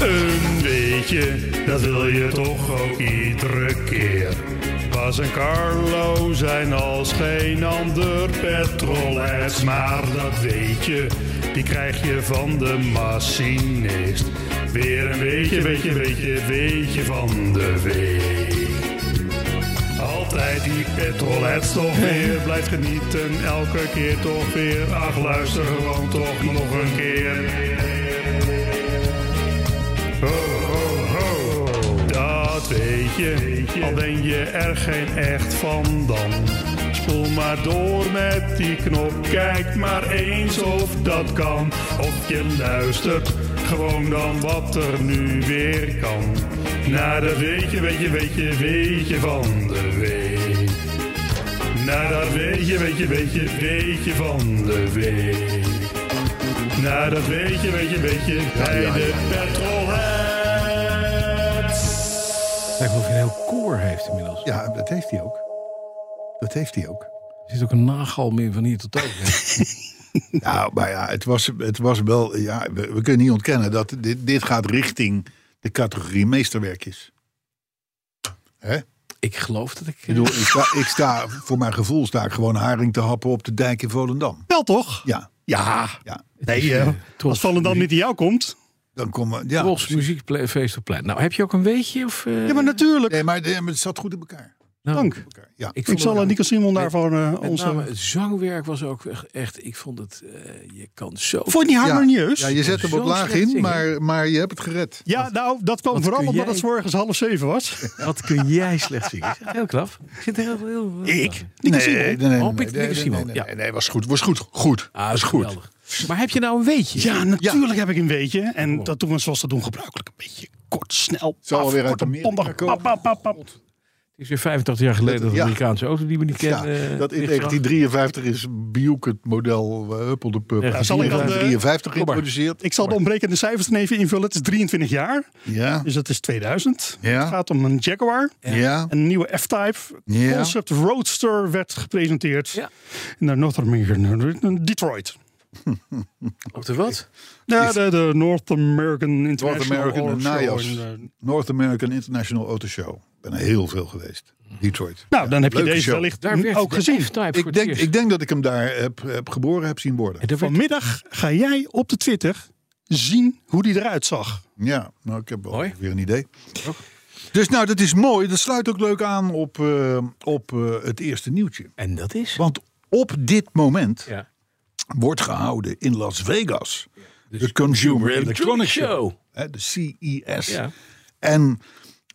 S4: Een beetje, dat wil je toch ook iedere keer. Bas en Carlo zijn als geen ander petrolheads, maar dat weet je, die krijg je van de machinist. Weer een beetje, beetje, beetje, beetje van de week. Altijd die petrolheads toch weer, blijf genieten elke keer toch weer. Ach, luister gewoon toch nog een keer. Ho, ho, ho, dat weet je, al ben je er geen echt van dan. Spoel maar door met die knop, kijk maar eens of dat kan. Of je luistert gewoon dan wat er nu weer kan. Naar dat weet je, weet je, weet je, weet je van de week. Naar dat weet je, weet je, weet je, weet je van de week. Nou, dat weet je, weet je, weet je, bij de petrolheads.
S3: Lijkt wel of je een heel koor heeft inmiddels.
S2: Ja, dat heeft hij ook. Dat heeft hij ook.
S3: Er zit ook een nagal meer van hier tot daar. *laughs*
S2: Nou, maar ja, het was, het was wel. Ja, we, we kunnen niet ontkennen dat dit, dit gaat richting de categorie meesterwerkjes. Hè? Ik
S3: ik geloof dat ik... eh,
S2: bedoel, ik sta, ik sta, voor mijn gevoel sta ik gewoon haring te happen op de dijk in Volendam.
S4: Wel toch?
S2: Ja,
S4: Ja.
S2: ja.
S4: Nee, eh,
S3: Tros,
S4: als Volendam niet in jou komt.
S2: Dan komen we. Ja.
S3: Tros Muziekfeest op Plein. Nou, heb je ook een weetje? Of, eh,
S4: Ja, maar natuurlijk.
S2: Nee, maar, nee, maar het zat goed in elkaar.
S3: nou,
S4: Dank.
S2: elkaar. Ja.
S3: Ik, vond
S4: Ik
S3: het-
S4: zal aan Nico Simon daarvoor eh,
S3: Met
S4: onze...
S3: name het zangwerk was ook echt... Ik vond het... eh, je kan zo... *laughs*
S4: Vond je het niet
S2: ja.
S4: harmonieus?
S2: Ja,
S4: Ja,
S2: je zet hem
S3: Zo
S2: op laag
S3: slecht
S2: in,
S3: zingen.
S2: maar, maar je hebt het gered.
S4: nou, dat kwam
S3: Wat
S4: vooral
S3: kun
S4: omdat
S3: jij-
S4: het 's morgens half zeven was.
S3: Wat kun jij slecht zingen? Heel knap. Ik vind het heel... heel
S4: Ik?
S2: Nee,
S4: Nico
S2: nee,
S4: Simon?
S2: nee, nee, nee,
S3: Oh, Pieter
S2: nee,
S3: Simon,
S2: nee, nee,
S3: ja.
S2: nee, nee, was goed, was goed, goed.
S3: Ah,
S2: was goed.
S3: geweldig. Maar heb je nou een weetje?
S4: Ja, natuurlijk heb ik een beetje. En dat doen we zoals dat doen gebruikelijk. Een beetje kort, snel,
S2: Zal
S4: paf,
S2: alweer uit
S4: kort en
S2: Amerika
S4: bondig.
S2: komen.
S4: Pap, pap, pap, pap.
S3: Het is weer 85 jaar geleden dat de
S2: Ja.
S3: Amerikaanse auto die we niet
S2: Ja,
S3: kennen... eh,
S2: dat in
S3: ligt eraf.
S2: 1953 is Buick het model eh, Huppel de Pup.
S3: Ja,
S4: zal ik dan de-
S2: 53
S3: eh, Kom maar.
S2: geïntroduceerd.
S4: Ik zal de ontbrekende cijfers dan even invullen. Het is 23 jaar,
S2: Ja,
S4: dus dat is 2000.
S2: Ja.
S4: Het gaat om een Jaguar.
S2: ja,
S4: Een nieuwe F-Type
S2: Ja.
S4: Concept Roadster werd gepresenteerd
S3: Ja.
S4: naar North American Detroit.
S3: Op de wat?
S4: Ja, de, de North American
S2: North
S4: International
S2: American
S4: Auto
S2: en
S4: Show
S2: Najas.
S4: in, eh,
S2: North American International Auto Show. Ik ben er heel veel geweest.
S3: Mm.
S2: Detroit.
S4: nou, dan heb je
S2: leuke
S4: deze
S2: show.
S4: wellicht
S3: Daar werd
S4: ook
S3: de
S4: gezien.
S3: F-Type voor
S2: Ik
S3: het
S2: denk,
S3: eerst.
S2: ik denk dat ik hem daar heb, heb geboren heb zien worden.
S3: En daar werd-
S4: Vanmiddag ga jij op de Twitter zien hoe die eruit zag.
S2: Ja, nou, ik heb wel
S3: Mooi.
S2: weer een idee. Dus nou, dat is mooi. Dat sluit ook leuk aan op, eh, op eh, het eerste nieuwtje.
S3: En dat is...
S2: Want op dit moment
S3: Ja.
S2: wordt gehouden in Las Vegas.
S3: dus
S2: De Consumer Electronic Show, hè, de CES.
S3: Ja.
S2: En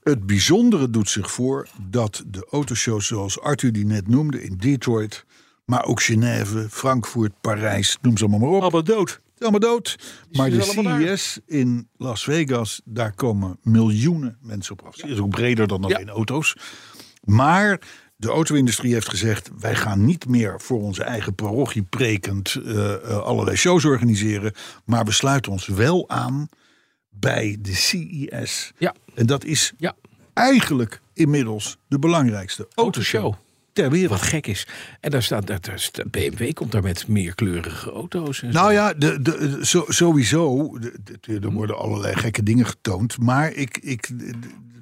S2: het bijzondere doet zich voor dat de autoshows zoals Arthur die net noemde in Detroit, maar ook Genève, Frankfurt, Parijs, noem ze allemaal maar op.
S3: Allemaal dood.
S2: Het is allemaal dood. Maar de
S3: dus allemaal daar.
S2: CES in Las Vegas, daar komen miljoenen mensen op af. Het is ook breder dan alleen auto's. Maar de auto-industrie heeft gezegd: wij gaan niet meer voor onze eigen parochie prekend eh, eh, allerlei shows organiseren. Maar we sluiten ons wel aan bij de CES.
S3: Ja.
S2: En dat is
S3: Ja.
S2: eigenlijk inmiddels de belangrijkste autoshow
S3: Autoshow.
S2: ter wereld.
S3: Wat gek is. En daar staat, daar, daar staat- BMW komt daar met meerkleurige auto's. En zo.
S2: Nou ja, de, de, de- zo- sowieso. de- de-
S3: Hm.
S2: er worden allerlei gekke dingen getoond. Maar ik. ik de- de-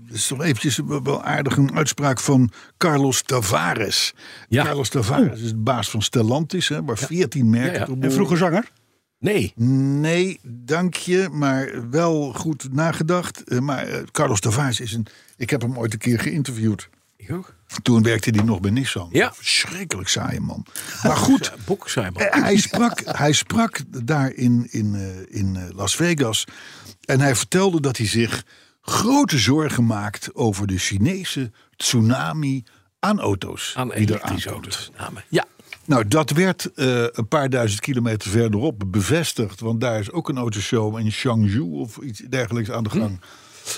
S2: het is toch eventjes wel wel aardig een uitspraak van Carlos Tavares.
S3: Ja. Oh.
S2: Carlos Tavares is de baas van Stellantis, hè, waar 14 merken
S3: Ja, ja.
S2: tot
S3: En
S2: behoren.
S6: Vroeger zanger.
S3: Nee.
S2: Nee, dank je, maar wel goed nagedacht. Eh, Maar eh, Carlos Tavares is een... Ik heb hem ooit een keer geïnterviewd.
S3: Ik ook.
S2: Toen werkte hij nog bij Nissan.
S3: Ja.
S2: Verschrikkelijk saaie man. Maar goed,
S3: Boek, zei maar.
S2: eh, hij, sprak, hij sprak daar in, in, eh, in eh, Las Vegas. En hij vertelde dat hij zich grote zorgen maakt over de Chinese tsunami aan auto's.
S3: Aan
S2: die er
S3: elektrische
S2: aankomt.
S3: auto's. Namen. Ja.
S2: Nou, dat werd eh, een paar duizend kilometer verderop bevestigd. Want daar is ook een autoshow in Changzhou of iets dergelijks aan de
S3: Hm.
S2: gang.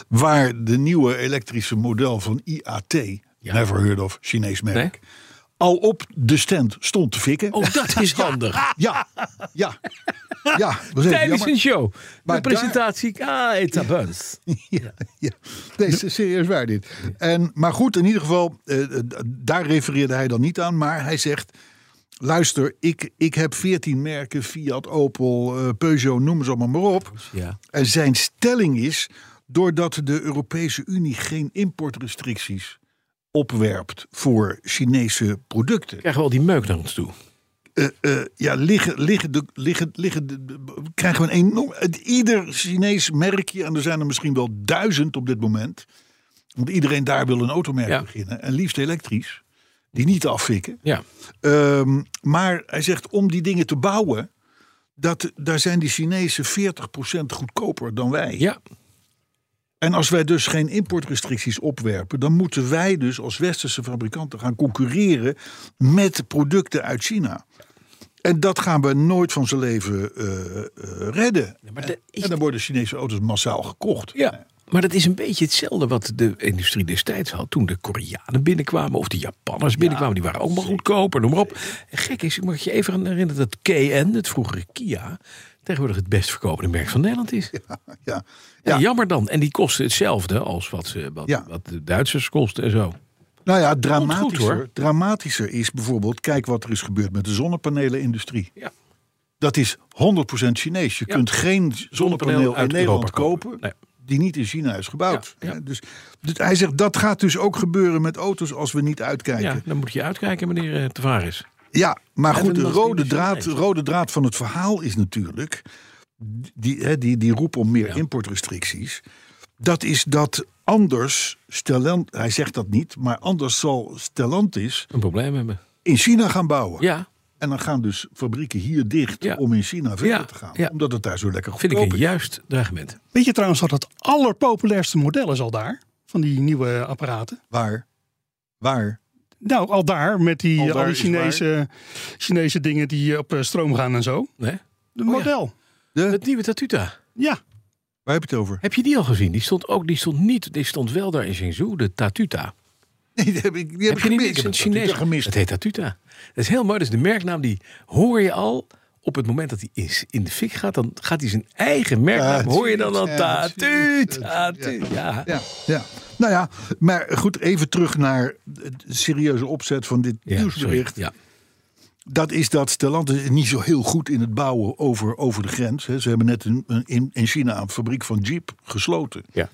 S2: Waar de nieuwe elektrische model van IAT, never heard of, Chinees merk,
S3: Nee.
S2: al op de stand stond te fikken.
S3: Oh,
S2: *laughs*
S3: dat is handig.
S2: Ja, ja, ja. Dat is even
S3: Tijdens een
S2: jammer.
S3: show.
S2: Maar
S3: Maar presentatie. Ah, het abans.
S2: Ja, ja. Nee, is serieus waar dit. En, maar goed, in ieder geval, eh, eh, d- daar refereerde hij dan niet aan. Maar hij zegt, luister, ik, ik heb 14 merken, Fiat, Opel, eh, Peugeot, noem ze allemaal maar op.
S3: Ja.
S2: En zijn stelling is, doordat de Europese Unie geen importrestricties opwerpt voor Chinese producten.
S3: Krijgen we al die meuk naar ons toe.
S2: eh, eh, ja, liggen, liggen, de, liggen, liggen de- de- krijgen we een enorm. Het, ieder Chinees merkje, en er zijn er misschien wel duizend op dit moment. Want iedereen daar wil een automerk
S3: Ja.
S2: beginnen. En liefst elektrisch. Die niet afvikken.
S3: Ja.
S2: Ehm, maar hij zegt om die dingen te bouwen. Dat, daar zijn die Chinezen 40% goedkoper dan wij.
S3: Ja.
S2: En als wij dus geen importrestricties opwerpen, dan moeten wij dus als westerse fabrikanten gaan concurreren met producten uit China. En dat gaan we nooit van zijn leven eh, eh, redden.
S3: maar
S2: en,
S3: dat is-
S2: en dan worden Chinese auto's massaal gekocht.
S3: Ja, maar dat is een beetje hetzelfde wat de industrie destijds had. Toen de Koreanen binnenkwamen of de Japanners binnenkwamen. Die waren allemaal goedkoper, noem maar op. En gek is, ik moet je even aan herinneren dat KN, het vroegere Kia... tegenwoordig het best verkopende merk van Nederland is.
S2: *laughs* Ja.
S3: En
S2: Ja.
S3: jammer dan. En die kosten hetzelfde als wat, ze, wat,
S2: Ja.
S3: wat de Duitsers kosten en zo.
S2: Nou ja,
S3: Komt goed,
S2: dramatischer,
S3: hoor.
S2: dramatischer is bijvoorbeeld, kijk wat er is gebeurd met de zonnepanelenindustrie.
S3: Ja.
S2: Dat is 100% Chinees. Je
S3: Ja.
S2: kunt geen zonnepaneel uit
S3: uit
S2: Nederland
S3: Europa kopen.
S2: kopen.
S3: Nee.
S2: die niet in China is gebouwd.
S3: Ja, ja.
S2: Hè, Dus, dus hij zegt dat gaat dus ook gebeuren met auto's als we niet uitkijken.
S3: Ja,
S2: Ja,
S3: dan moet je uitkijken, meneer eh, Tavares.
S2: maar
S3: En
S2: goed,
S3: dan
S2: de
S3: was die
S2: rode
S3: dus
S2: draad,
S3: Chinees.
S2: rode draad van het verhaal is natuurlijk die, hè, die, die roep om meer importrestricties. Dat is dat anders Stellant, hij zegt dat niet, maar anders zal Stellantis
S3: Een probleem hebben.
S2: in China gaan bouwen.
S3: Ja,
S2: En dan gaan dus fabrieken hier dicht
S3: Ja.
S2: om in China verder
S3: Ja,
S2: te gaan,
S3: ja.
S2: omdat het daar zo lekker
S3: vind ik
S2: goedkoop
S3: een
S2: is.
S3: juist dreigement.
S6: Weet je trouwens wat het allerpopulairste model is al daar? Van die nieuwe apparaten.
S2: Waar? Waar?
S6: Nou, al daar met die,
S2: Al
S6: al
S2: daar
S6: die
S2: is
S6: Chinese, Chinese dingen die op eh, stroom gaan en zo.
S3: Nee?
S6: De
S2: Oh
S3: ja.
S6: model.
S2: De,
S3: Het nieuwe Tatuta.
S6: Ja.
S2: waar heb je het over?
S3: Heb je die al gezien? Die stond ook, die stond niet, die stond wel daar in Shenzhou, de Tatuta.
S2: Nee, *laughs* die heb ik, die heb ik
S3: je niet?
S2: gemist.
S3: Het is
S2: Ik
S3: een
S2: heb het
S3: Chinees.
S2: gemist.
S3: Het heet Tatuta. Dat is heel mooi. Dus de merknaam die hoor je al op het moment dat hij is in de fik gaat, dan gaat hij zijn eigen merknaam.
S2: Tatuut,
S3: Hoor je dan al
S2: ja,
S3: Tatuut,
S2: precies.
S3: Tatuut. Ja.
S2: Ja, ja. Nou ja, maar goed, even terug naar de serieuze opzet van dit
S3: Ja, sorry.
S2: nieuwsbericht.
S3: Ja.
S2: Dat is dat Stellantis is niet zo heel goed in het bouwen over, over de grens. hè. Ze hebben net een, een- in, in China een fabriek van Jeep gesloten.
S3: Ja.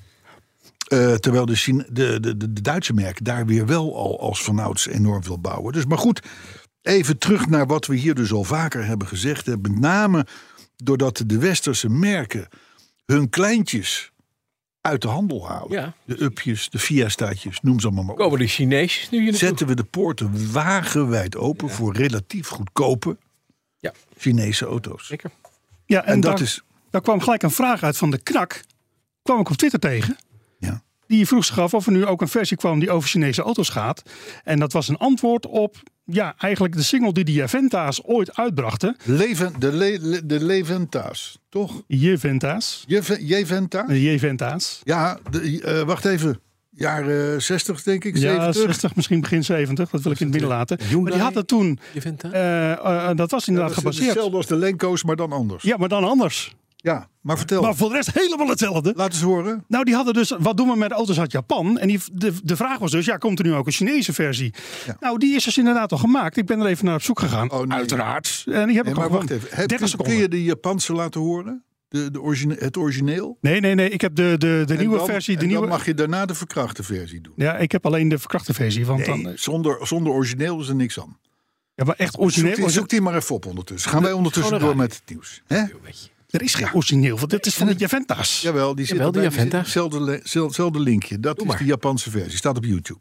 S2: Eh, terwijl de, Chine- de, de, de, de Duitse merk daar weer wel al als vanouds enorm wil bouwen. Dus maar goed, even terug naar wat we hier dus al vaker hebben gezegd. hè. Met name doordat de westerse merken hun kleintjes uit de handel halen.
S3: Ja.
S2: De upjes, de fiestaatjes, noem ze allemaal maar op.
S3: Komen de Chineesjes nu hier naartoe?
S2: Zetten we de poorten wagenwijd open voor relatief goedkope
S3: Ja.
S2: Chinese auto's.
S3: Zeker.
S6: Ja, en,
S2: En dat
S6: daar,
S2: is-
S6: daar kwam gelijk een vraag uit van de knak. Kwam ik op Twitter tegen.
S2: Ja.
S6: Die vroeg zich af of er nu ook een versie kwam die over Chinese auto's gaat. En dat was een antwoord op ja, eigenlijk de single die de Javenta's ooit uitbrachten.
S2: Leven, de, le, le- de Leventa's, toch?
S6: Javenta's.
S2: Jeve- Jeventa?
S6: De Javenta's.
S2: Ja, de, eh, wacht even. Jaren 60, denk ik,
S6: Ja,
S2: 70.
S6: 60, misschien begin 70. Dat wil ik in het midden laten. Maar
S3: Hyundai?
S6: die hadden toen...
S3: Je vindt dat?
S6: eh, eh, eh, dat was inderdaad
S2: Dat is dus
S6: gebaseerd.
S2: Hetzelfde als de Lenko's, maar dan anders.
S6: Ja, maar dan anders.
S2: Ja, maar vertel.
S6: Maar voor de rest helemaal hetzelfde.
S2: Laat eens horen.
S6: Nou, die hadden dus, wat doen we met auto's uit Japan? En die, de, de vraag was dus, ja, komt er nu ook een Chinese versie?
S2: Ja.
S6: Nou, die is dus inderdaad al gemaakt. Ik ben er even naar op zoek gegaan.
S2: Oh, nee.
S6: Uiteraard. En die heb
S2: Nee,
S6: ik
S2: maar
S6: al
S2: wacht even. Heb, kun,
S6: 30
S2: kun
S6: seconden.
S2: je de Japanse laten horen? De, de origine, het origineel?
S6: Nee, nee, nee. Ik heb de, de, de
S2: En
S6: nieuwe
S2: dan-
S6: versie. De
S2: en
S6: nieuwe...
S2: dan mag je daarna de verkrachte versie doen.
S6: Ja, ik heb alleen de verkrachte versie. Want dan,
S2: Nee, zonder, zonder origineel is er niks aan.
S6: ja, maar echt
S2: Zoek
S6: origineel.
S2: die, zoek die maar even op ondertussen. Gaan wij ondertussen door met het nieuws. Hè?
S6: Er is geen origineel, want dit is van de Javenta's.
S2: Jawel, die zit
S3: Jawel, die
S2: erbij, die zit-
S3: Aventa.
S2: hetzelfde le- zel- hetzelfde linkje. Dat is de Japanse versie. Staat op YouTube.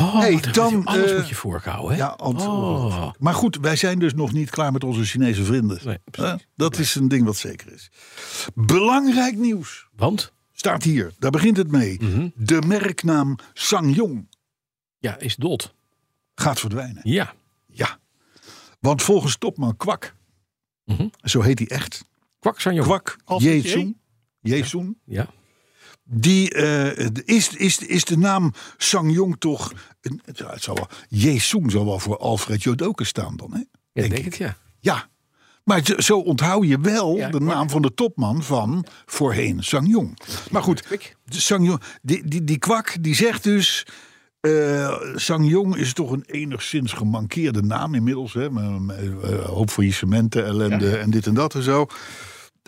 S3: Oh,
S2: Hey,
S3: dan,
S2: dan,
S3: alles
S2: eh,
S3: moet je voorkomen, hè?
S2: Ja, ant-
S3: Oh.
S2: Maar goed, wij zijn dus nog niet klaar met onze Chinese vrienden.
S3: Nee, precies.
S2: Hè? dat is een ding wat zeker is. Belangrijk nieuws.
S3: Want?
S2: Staat hier, daar begint het mee.
S3: Mhm.
S2: De merknaam Sangyong
S3: Ja, is dood.
S2: gaat verdwijnen.
S3: Ja.
S2: Ja. Want volgens topman Kwak,
S3: Mhm.
S2: zo heet hij echt,
S3: Kwak Sanjo.
S2: Kwak
S6: Als het
S2: Jezoen, Jezoen
S3: Ja.
S2: die eh, is, is, is de naam Sangyong toch, een- ja, het zal wel, Jezoen zal wel voor Alfred Jodoken staan dan, hè?
S3: Ja,
S2: Denk
S3: denk het, ja.
S2: Ja, maar zo- zo onthoud je wel
S3: Ja,
S2: de
S3: maar-
S2: naam van de topman van voorheen, Sangyong. Maar goed, Sangyong, die, die, die kwak die zegt dus... eh Sangyong is toch een enigszins gemankeerde naam inmiddels. Hè? Met een eh, hoop faillissementen, ellende en dit en dat en zo.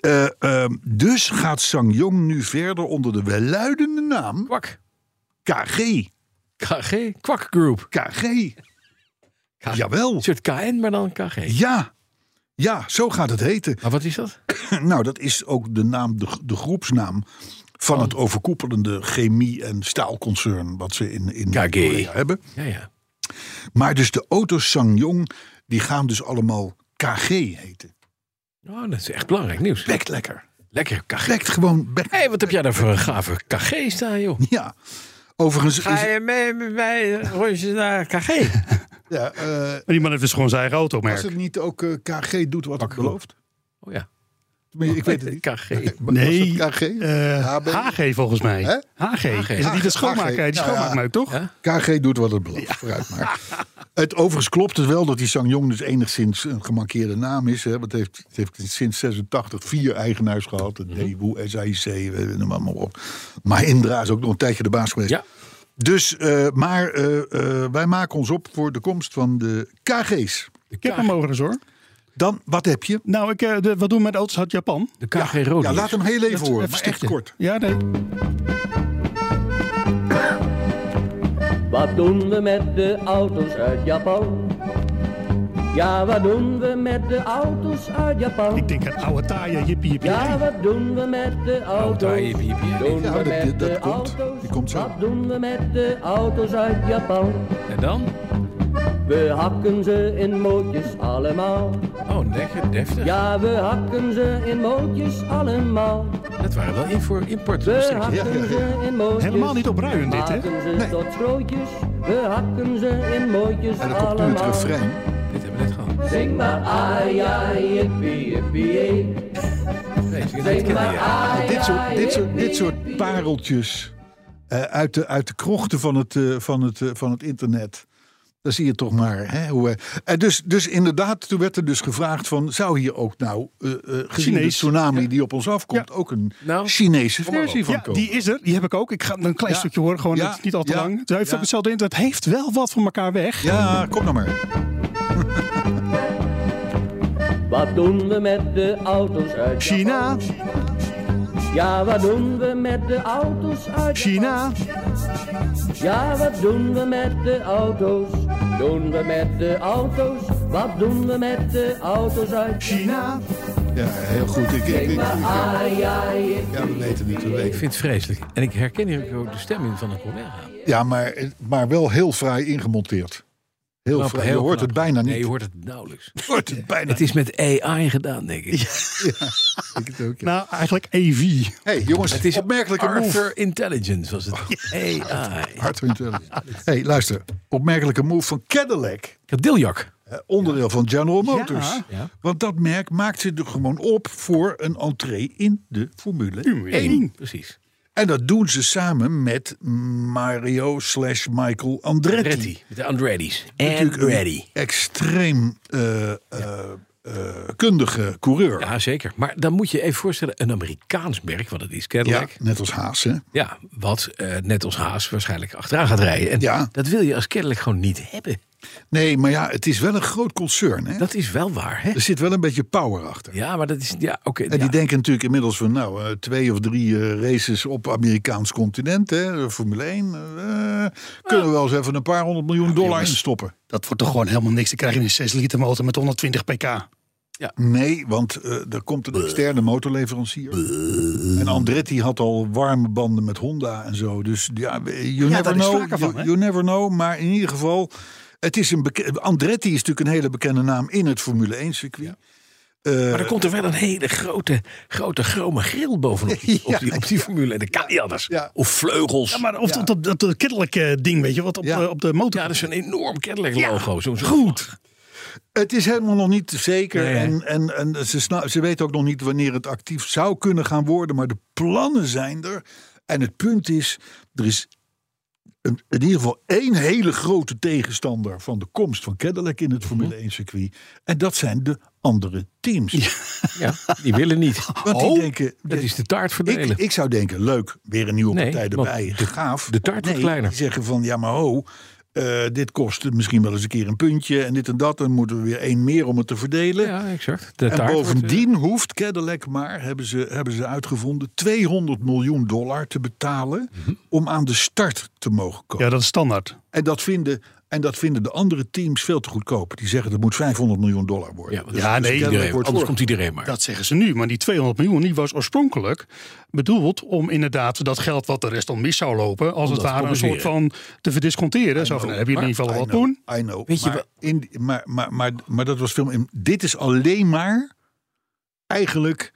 S2: Eh, ehm, dus gaat Sangyong nu verder onder de welluidende naam
S3: Kwak.
S2: KG.
S3: KG. Kwak Group.
S2: KG,
S3: KG.
S2: jawel.
S3: Een soort KN, maar dan KG.
S2: Ja, ja, zo gaat het heten.
S3: Maar wat is dat?
S2: *clears throat* Nou, dat is ook de naam, de, de groepsnaam van het overkoepelende chemie- en staalconcern wat ze in, in
S3: KG.
S2: Korea hebben.
S3: Ja, ja.
S2: Maar dus de auto's Sangyong, die gaan dus allemaal KG heten.
S3: Oh, dat is echt belangrijk nieuws.
S2: Bekt lekker.
S3: Lekker KG.
S2: Bekt gewoon bekt.
S3: Hé, wat heb jij daar voor een gave KG staan, joh?
S2: Ja. Overigens is...
S3: Ga je mee met mij een rondje naar KG?
S2: Ja, eh,
S6: Maar die man heeft dus gewoon zijn eigen
S2: als
S6: automerk.
S2: het niet ook eh, KG doet wat het belooft?
S3: Oh ja.
S2: Tenminste, Ik weet het niet.
S3: *laughs* KG.
S2: Was
S6: Nee,
S2: het KG?
S6: eh,
S2: HB?
S6: HG volgens mij.
S2: Hè?
S6: HG. Is het niet de
S2: HG?
S6: schoonmaker? Die
S2: Nou ja.
S6: schoonmaakmeuk, toch?
S3: Ja.
S2: KG doet wat het belooft. Vooruit maar. *laughs* Het overigens klopt het wel dat die Sangyong dus enigszins een gemarkeerde naam is. Hè? Want het heeft, het heeft sinds 86 vier eigenaars gehad. De Daewoo, SAIC, eh, noem maar, maar op. Maar Indra is ook nog een tijdje de baas geweest.
S3: Ja.
S2: Dus, eh, maar eh, eh, wij maken ons op voor de komst van de KG's.
S6: Ik heb hem mogen hoor.
S2: Dan, wat heb je?
S6: Nou, ik, eh, de- wat doen we met auto's uit Japan?
S3: De KG Rode.
S2: Ja, laat hem heel even horen,
S6: Even
S2: maar echt
S6: stukje.
S2: kort.
S6: Ja, nee.
S7: Wat doen we met de auto's uit Japan? Ja, wat doen we met de auto's uit Japan?
S6: Ik denk een oude taaie, jippie, jippie.
S7: Ja,
S6: hey.
S7: wat doen we met de auto's?
S3: taaie, jippie, jippie.
S7: Doen
S2: Ja,
S7: we
S2: dat- dat-
S7: met de
S2: dat komt.
S7: auto's?
S2: Die komt zo.
S7: Wat doen we met de auto's uit Japan?
S3: En dan?
S7: We hakken ze in mootjes allemaal.
S3: Oh, lekker deftig.
S7: Ja, we hakken ze in mootjes allemaal.
S3: Dat waren wel in voor import.
S7: We
S3: restricties.
S7: hakken ze in mootjes.
S6: Helemaal niet opruiend dit, hè?
S7: Hakken ze tot schrootjes. We hakken ze in mootjes
S2: En dan komt nu het
S7: allemaal.
S2: refrein.
S3: Dit hebben we net gehad.
S7: Zing maar ai ai yippie yippie yay.
S3: Nee, dat ken je. ja.
S2: Dit soort, dit soort, dit soort pareltjes eh, uit, de, uit de krochten van het, eh, van het, eh, van het internet. Dan zie je toch maar. Hè, hoe, eh, en dus, dus inderdaad, toen werd er dus gevraagd van... zou hier ook nou, eh eh, gezien de
S6: Chinees.
S2: tsunami die op ons afkomt... ook een
S3: Nou,
S2: Chinese
S3: maar
S2: versie van
S6: Ja,
S2: komen?
S6: die is er. Die heb ik ook. Ik ga een klein
S2: Ja.
S6: stukje horen, gewoon
S2: Ja.
S6: het is niet al te
S2: Ja.
S6: lang. Het heeft
S2: Ja.
S6: ook hetzelfde in. Het heeft wel wat van elkaar weg.
S2: Ja, kom nou maar.
S7: Wat doen we met de auto's uit
S6: China,
S7: Japan? Ja, wat doen we met de auto's uit
S6: China.
S7: Japan? Ja, wat doen we met de auto's? Doen we met de auto's? Wat doen we met de auto's uit China?
S2: Ja, heel goed. Ik, ik, ik- ik- ja, we weten niet, we
S3: Ik
S2: weten.
S3: vind het vreselijk. En ik herken hier ook de stem in van een collega.
S2: Ja, maar, maar wel heel fraai ingemonteerd. Heel
S3: Knap,
S2: vrij.
S3: heel
S2: eh, je hoort
S3: knap.
S2: het bijna niet.
S3: Nee, je hoort het nauwelijks.
S2: Je hoort het bijna
S3: Het is met AI gedaan, denk ik.
S2: niet. Ik het ook, ja.
S6: Nou, eigenlijk EV.
S2: hey, jongens,
S3: Het is
S2: opmerkelijke
S3: Arthur
S2: move. Oh,
S3: Intelligence was het. AI.
S2: Arthur Intelligence. hey, luister. Opmerkelijke move van Cadillac.
S3: Kadiljak.
S2: Eh, onderdeel van General Motors.
S3: Ja.
S2: Want dat merk maakt zich er gewoon op voor een entree in de Formule 1.
S3: Precies.
S2: En dat doen ze samen met Mario slash Michael Andretti.
S3: Ready. Met de Andretti's. And
S2: Natuurlijk een
S3: ready.
S2: Extreem eh, eh, eh, kundige coureur.
S3: Ja, zeker. Maar dan moet je even voorstellen, een Amerikaans merk, want het is
S2: Ja,
S3: Cadillac. Ja,
S2: net als Haas, hè?
S3: wat eh, net als Haas waarschijnlijk achteraan gaat rijden. En
S2: Ja.
S3: dat wil je als Cadillac gewoon niet hebben.
S2: Nee, maar ja, het is wel een groot concern, hè?
S3: Dat is wel waar, hè?
S2: Er zit wel een beetje power achter.
S3: Ja, maar dat is... Ja, oké.
S2: Dus- En
S3: ja.
S2: die denken natuurlijk inmiddels van, nou, eh, twee of drie eh, races op Amerikaans continent, hè, Formule 1. eh, kunnen we wel eens even een paar honderd miljoen dollar
S8: jongens.
S2: instoppen.
S8: Dat wordt toch gewoon helemaal niks. Dan krijg je een 6 liter motor met 120 pk.
S2: Nee, want eh, er komt een externe motorleverancier. En Andretti had al warme banden met Honda en zo. Dus ja, you never
S8: daar is
S2: know.
S8: sprake van,
S2: you,
S8: hè?
S2: you never know. Maar in ieder geval, het is een beke- Andretti is natuurlijk een hele bekende naam in het Formule 1 circuit.
S3: Maar er komt er wel een hele grote, grote chrome grill bovenop die, op die, op die formule. En dat kan niet anders.
S2: Ja.
S3: Of vleugels. Ja,
S8: Maar of dat, dat, dat, dat kennelijk, eh, ding, weet je, wat op,
S2: Ja.
S8: eh, op de motor.
S3: dat is een enorm Cadillac logo. Zo, zo-
S8: Goed.
S2: Het is helemaal nog niet zeker.
S3: Nee, hè?
S2: en en, en ze, sna- ze weten ook nog niet wanneer het actief zou kunnen gaan worden. Maar de plannen zijn er. En het punt is, er is een, in ieder geval één hele grote tegenstander van de komst van Cadillac
S3: Mhm.
S2: in het Formule 1 circuit. En dat zijn de andere teams.
S3: Ja, die willen niet.
S2: Want die
S3: Oh,
S2: denken,
S3: dat is de taart verdelen.
S2: ik, ik zou denken, leuk, weer een nieuwe
S3: Nee,
S2: partij
S3: want
S2: erbij. gaaf.
S3: de taart wordt
S2: nee,
S3: kleiner.
S2: Die zeggen van, ja maar ho, eh, dit kost misschien wel eens een keer een puntje. En dit en dat. Dan moeten we weer één meer om het te verdelen.
S3: ja, exact. De
S2: En
S3: taart wordt, eh,
S2: bovendien hoeft Cadillac maar, hebben ze, hebben ze uitgevonden, 200 miljoen dollar te betalen
S3: Mhm.
S2: om aan de start te mogen komen.
S6: Ja, dat is standaard.
S2: En, dat vinden, en dat vinden de andere teams veel te goedkoop. Die zeggen dat moet 500 miljoen dollar worden.
S3: ja, want
S2: Dus-
S3: dat is
S2: dus
S3: iedereen.
S2: Cadillac wordt
S3: Anders
S2: voor-
S3: komt iedereen maar.
S6: Dat zeggen ze nu, maar die 200 miljoen die was oorspronkelijk bedoeld om inderdaad dat geld wat de rest dan mis zou lopen, als het
S3: dat te
S6: ware een soort
S3: compenseren.
S6: van te verdisconteren. Zo van, nou, heb je in ieder geval
S2: I
S6: wat
S2: know,
S6: doen?
S2: I know.
S3: Weet je
S2: maar, in, die- maar, maar, maar, maar dat was film. in- Dit is alleen maar eigenlijk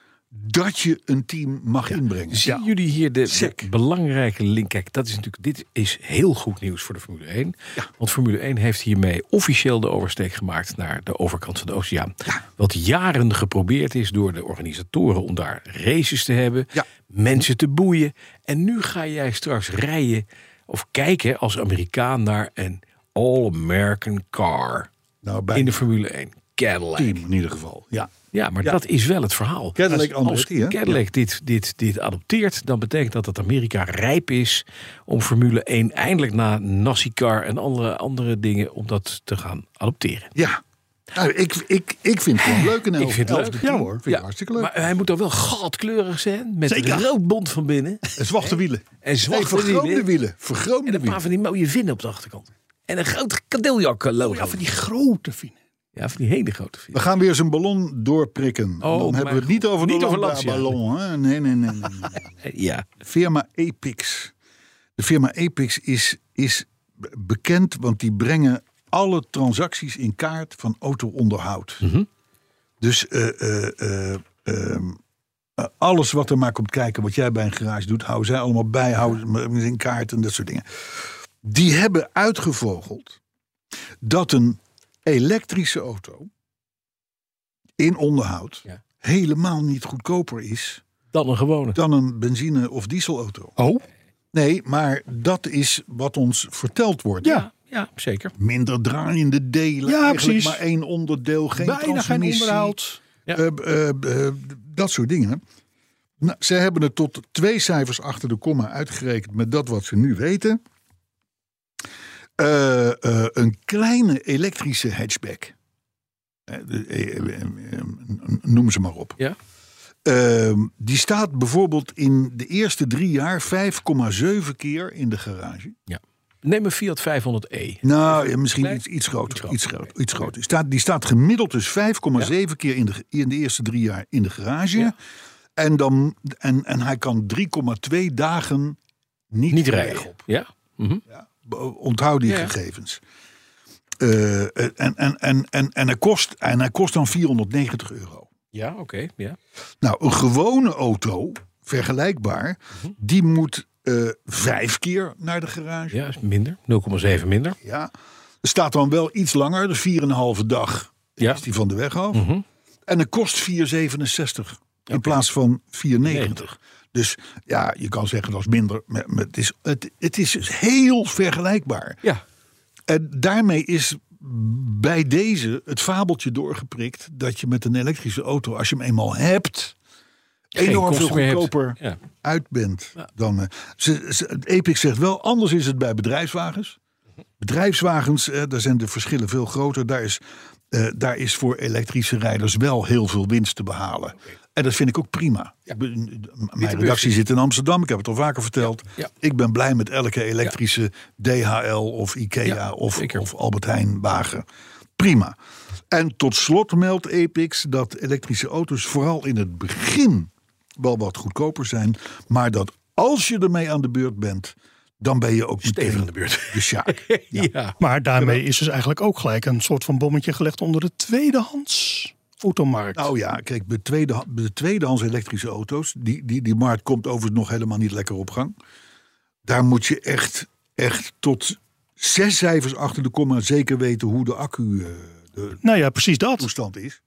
S2: dat je een team mag inbrengen.
S3: Zien jullie hier de, de
S2: Sick.
S3: belangrijke link? Kijk, dat is natuurlijk, dit is heel goed nieuws voor de Formule 1. Want Formule 1 heeft hiermee officieel de oversteek gemaakt naar de overkant van de oceaan. Wat jaren geprobeerd is door de organisatoren om daar races te hebben,
S2: Ja.
S3: mensen te boeien. En nu ga jij straks rijden of kijken als Amerikaan naar een All-American car
S2: Nou, bij
S3: in de Formule 1. Cadillac.
S2: team in ieder geval. Ja.
S3: Ja, maar dat is wel het verhaal.
S2: Cadillac
S3: als als
S2: Andretti, hè?
S3: Cadillac dit, dit, dit adopteert, dan betekent dat dat Amerika rijp is om Formule 1 eindelijk na NASCAR en andere, andere dingen om dat te gaan adopteren.
S2: Ja. Nou, ik, ik, ik vind het gewoon leuk in elf,
S3: Ik vind het leuk.
S2: Ja hoor, vind ik hartstikke leuk.
S3: Maar eh, hij moet dan wel goudkleurig zijn, met een rood bont van *laughs* binnen
S2: en zwarte wielen.
S3: en
S2: Nee,
S3: zwarte
S2: vergroomde
S3: wielen
S2: wielen. Vergroomde
S3: en een paar
S2: wielen.
S3: van die mooie vinnen op de achterkant. En een groot kadeeljak logo. Oh Ja, van die,
S8: Grote fine.
S3: hele
S2: We
S3: grote *laughs* vinnen.
S2: gaan weer zijn ballon doorprikken.
S3: Oh,
S2: Dan hebben
S3: mijn
S2: we het niet
S3: God.
S2: over de
S3: Niet over
S2: Lambda
S3: Lancia.
S2: ballon. Hè? Nee, nee, nee. nee, nee.
S3: Ja.
S2: firma Epix. De firma Epix is, is be- bekend, want die brengen alle transacties in kaart van auto-onderhoud. Dus eh, eh, eh, ehm, eh, alles wat er maar komt kijken, wat jij bij een garage doet, houden zij allemaal bij, houden ze in kaart en dat soort dingen. Die hebben uitgevogeld dat een elektrische auto in onderhoud
S3: Ja.
S2: helemaal niet goedkoper is
S3: Dan een gewone.
S2: dan een benzine- of dieselauto.
S6: Oh,
S2: Nee, maar dat is wat ons verteld wordt.
S3: Ja, ja zeker.
S2: Minder draaiende delen,
S6: Ja,
S2: eigenlijk
S6: precies.
S2: maar één onderdeel, geen
S6: bijna geen
S2: transmissie,
S6: onderhoud.
S3: Ja.
S2: eh, eh, eh, dat soort dingen. Nou, ze hebben het tot twee cijfers achter de komma uitgerekend met dat wat ze nu weten. Eh, eh, een kleine elektrische hatchback. Eh, de- eh, eh, eh, eh, noem ze maar op.
S3: Ja.
S2: Ehm, die staat bijvoorbeeld in de eerste drie jaar 5,7 keer in de garage.
S3: Neem een Fiat E. 500e.
S2: Nou, ja, misschien
S3: Nee?
S2: iets, iets groter. Iets
S3: groter,
S2: groter. Iets groter. Die, staat, die staat gemiddeld dus 5,7 keer in de, in de eerste drie jaar in de garage.
S3: Ja.
S2: En, dan, en, en hij kan 3,2 dagen niet,
S3: Niet
S2: de weg
S3: rijden. Ja. Mhm.
S2: Be- Onthoud die
S3: Ja.
S2: gegevens. Eh, en, en, en, en, en, hij kost, en hij kost dan 490 euro.
S3: Ja, oké. ja.
S2: Nou, een gewone auto, vergelijkbaar,
S3: Mhm.
S2: die moet eh, vijf keer naar de garage.
S3: ja, is minder. 0,7 minder.
S2: Ja. Er staat dan wel iets langer, dus 4,5 dag
S3: Ja. Mhm.
S2: is die van de weg af. En het kost 4,67 in plaats van 4,90. Dus ja, je kan zeggen dat is minder. Maar maar het is, het, het is dus heel vergelijkbaar.
S3: Ja.
S2: En daarmee is bij deze het fabeltje doorgeprikt dat je met een elektrische auto, als je hem eenmaal hebt, enorm veel
S3: kosten meer hebt.
S2: goedkoper
S3: Ja.
S2: uit bent. Dan, eh, ze, ze- het Epic zegt wel, anders is het bij bedrijfswagens. Bedrijfswagens, eh, daar zijn de verschillen veel groter. Daar is, eh, daar is voor elektrische rijders wel heel veel winst te behalen. En dat vind ik ook prima. Ik ben- mijn redactie zit in Amsterdam, ik heb het al vaker verteld.
S3: Ja.
S2: Ik ben blij met elke elektrische DHL of IKEA
S3: Ja,
S2: of,
S3: zeker.
S2: of Albert Heijn wagen. Prima. En tot slot meldt Epix dat elektrische auto's vooral in het begin wel wat goedkoper zijn. Maar dat als je ermee aan de beurt bent, dan ben je ook
S3: Stevig
S2: meteen
S3: aan de beurt.
S2: De
S3: *laughs*
S2: sjaak.
S3: Ja.
S8: Maar daarmee is dus eigenlijk ook gelijk een soort van bommetje gelegd onder de tweedehands automarkt.
S2: Nou ja, kijk, bij tweede, bij de tweedehands elektrische auto's, die, die, die markt komt overigens nog helemaal niet lekker op gang. Daar moet je echt, echt tot zes cijfers achter de komma zeker weten hoe de accu eh, de
S8: nou ja, precies dat.
S2: toestand is.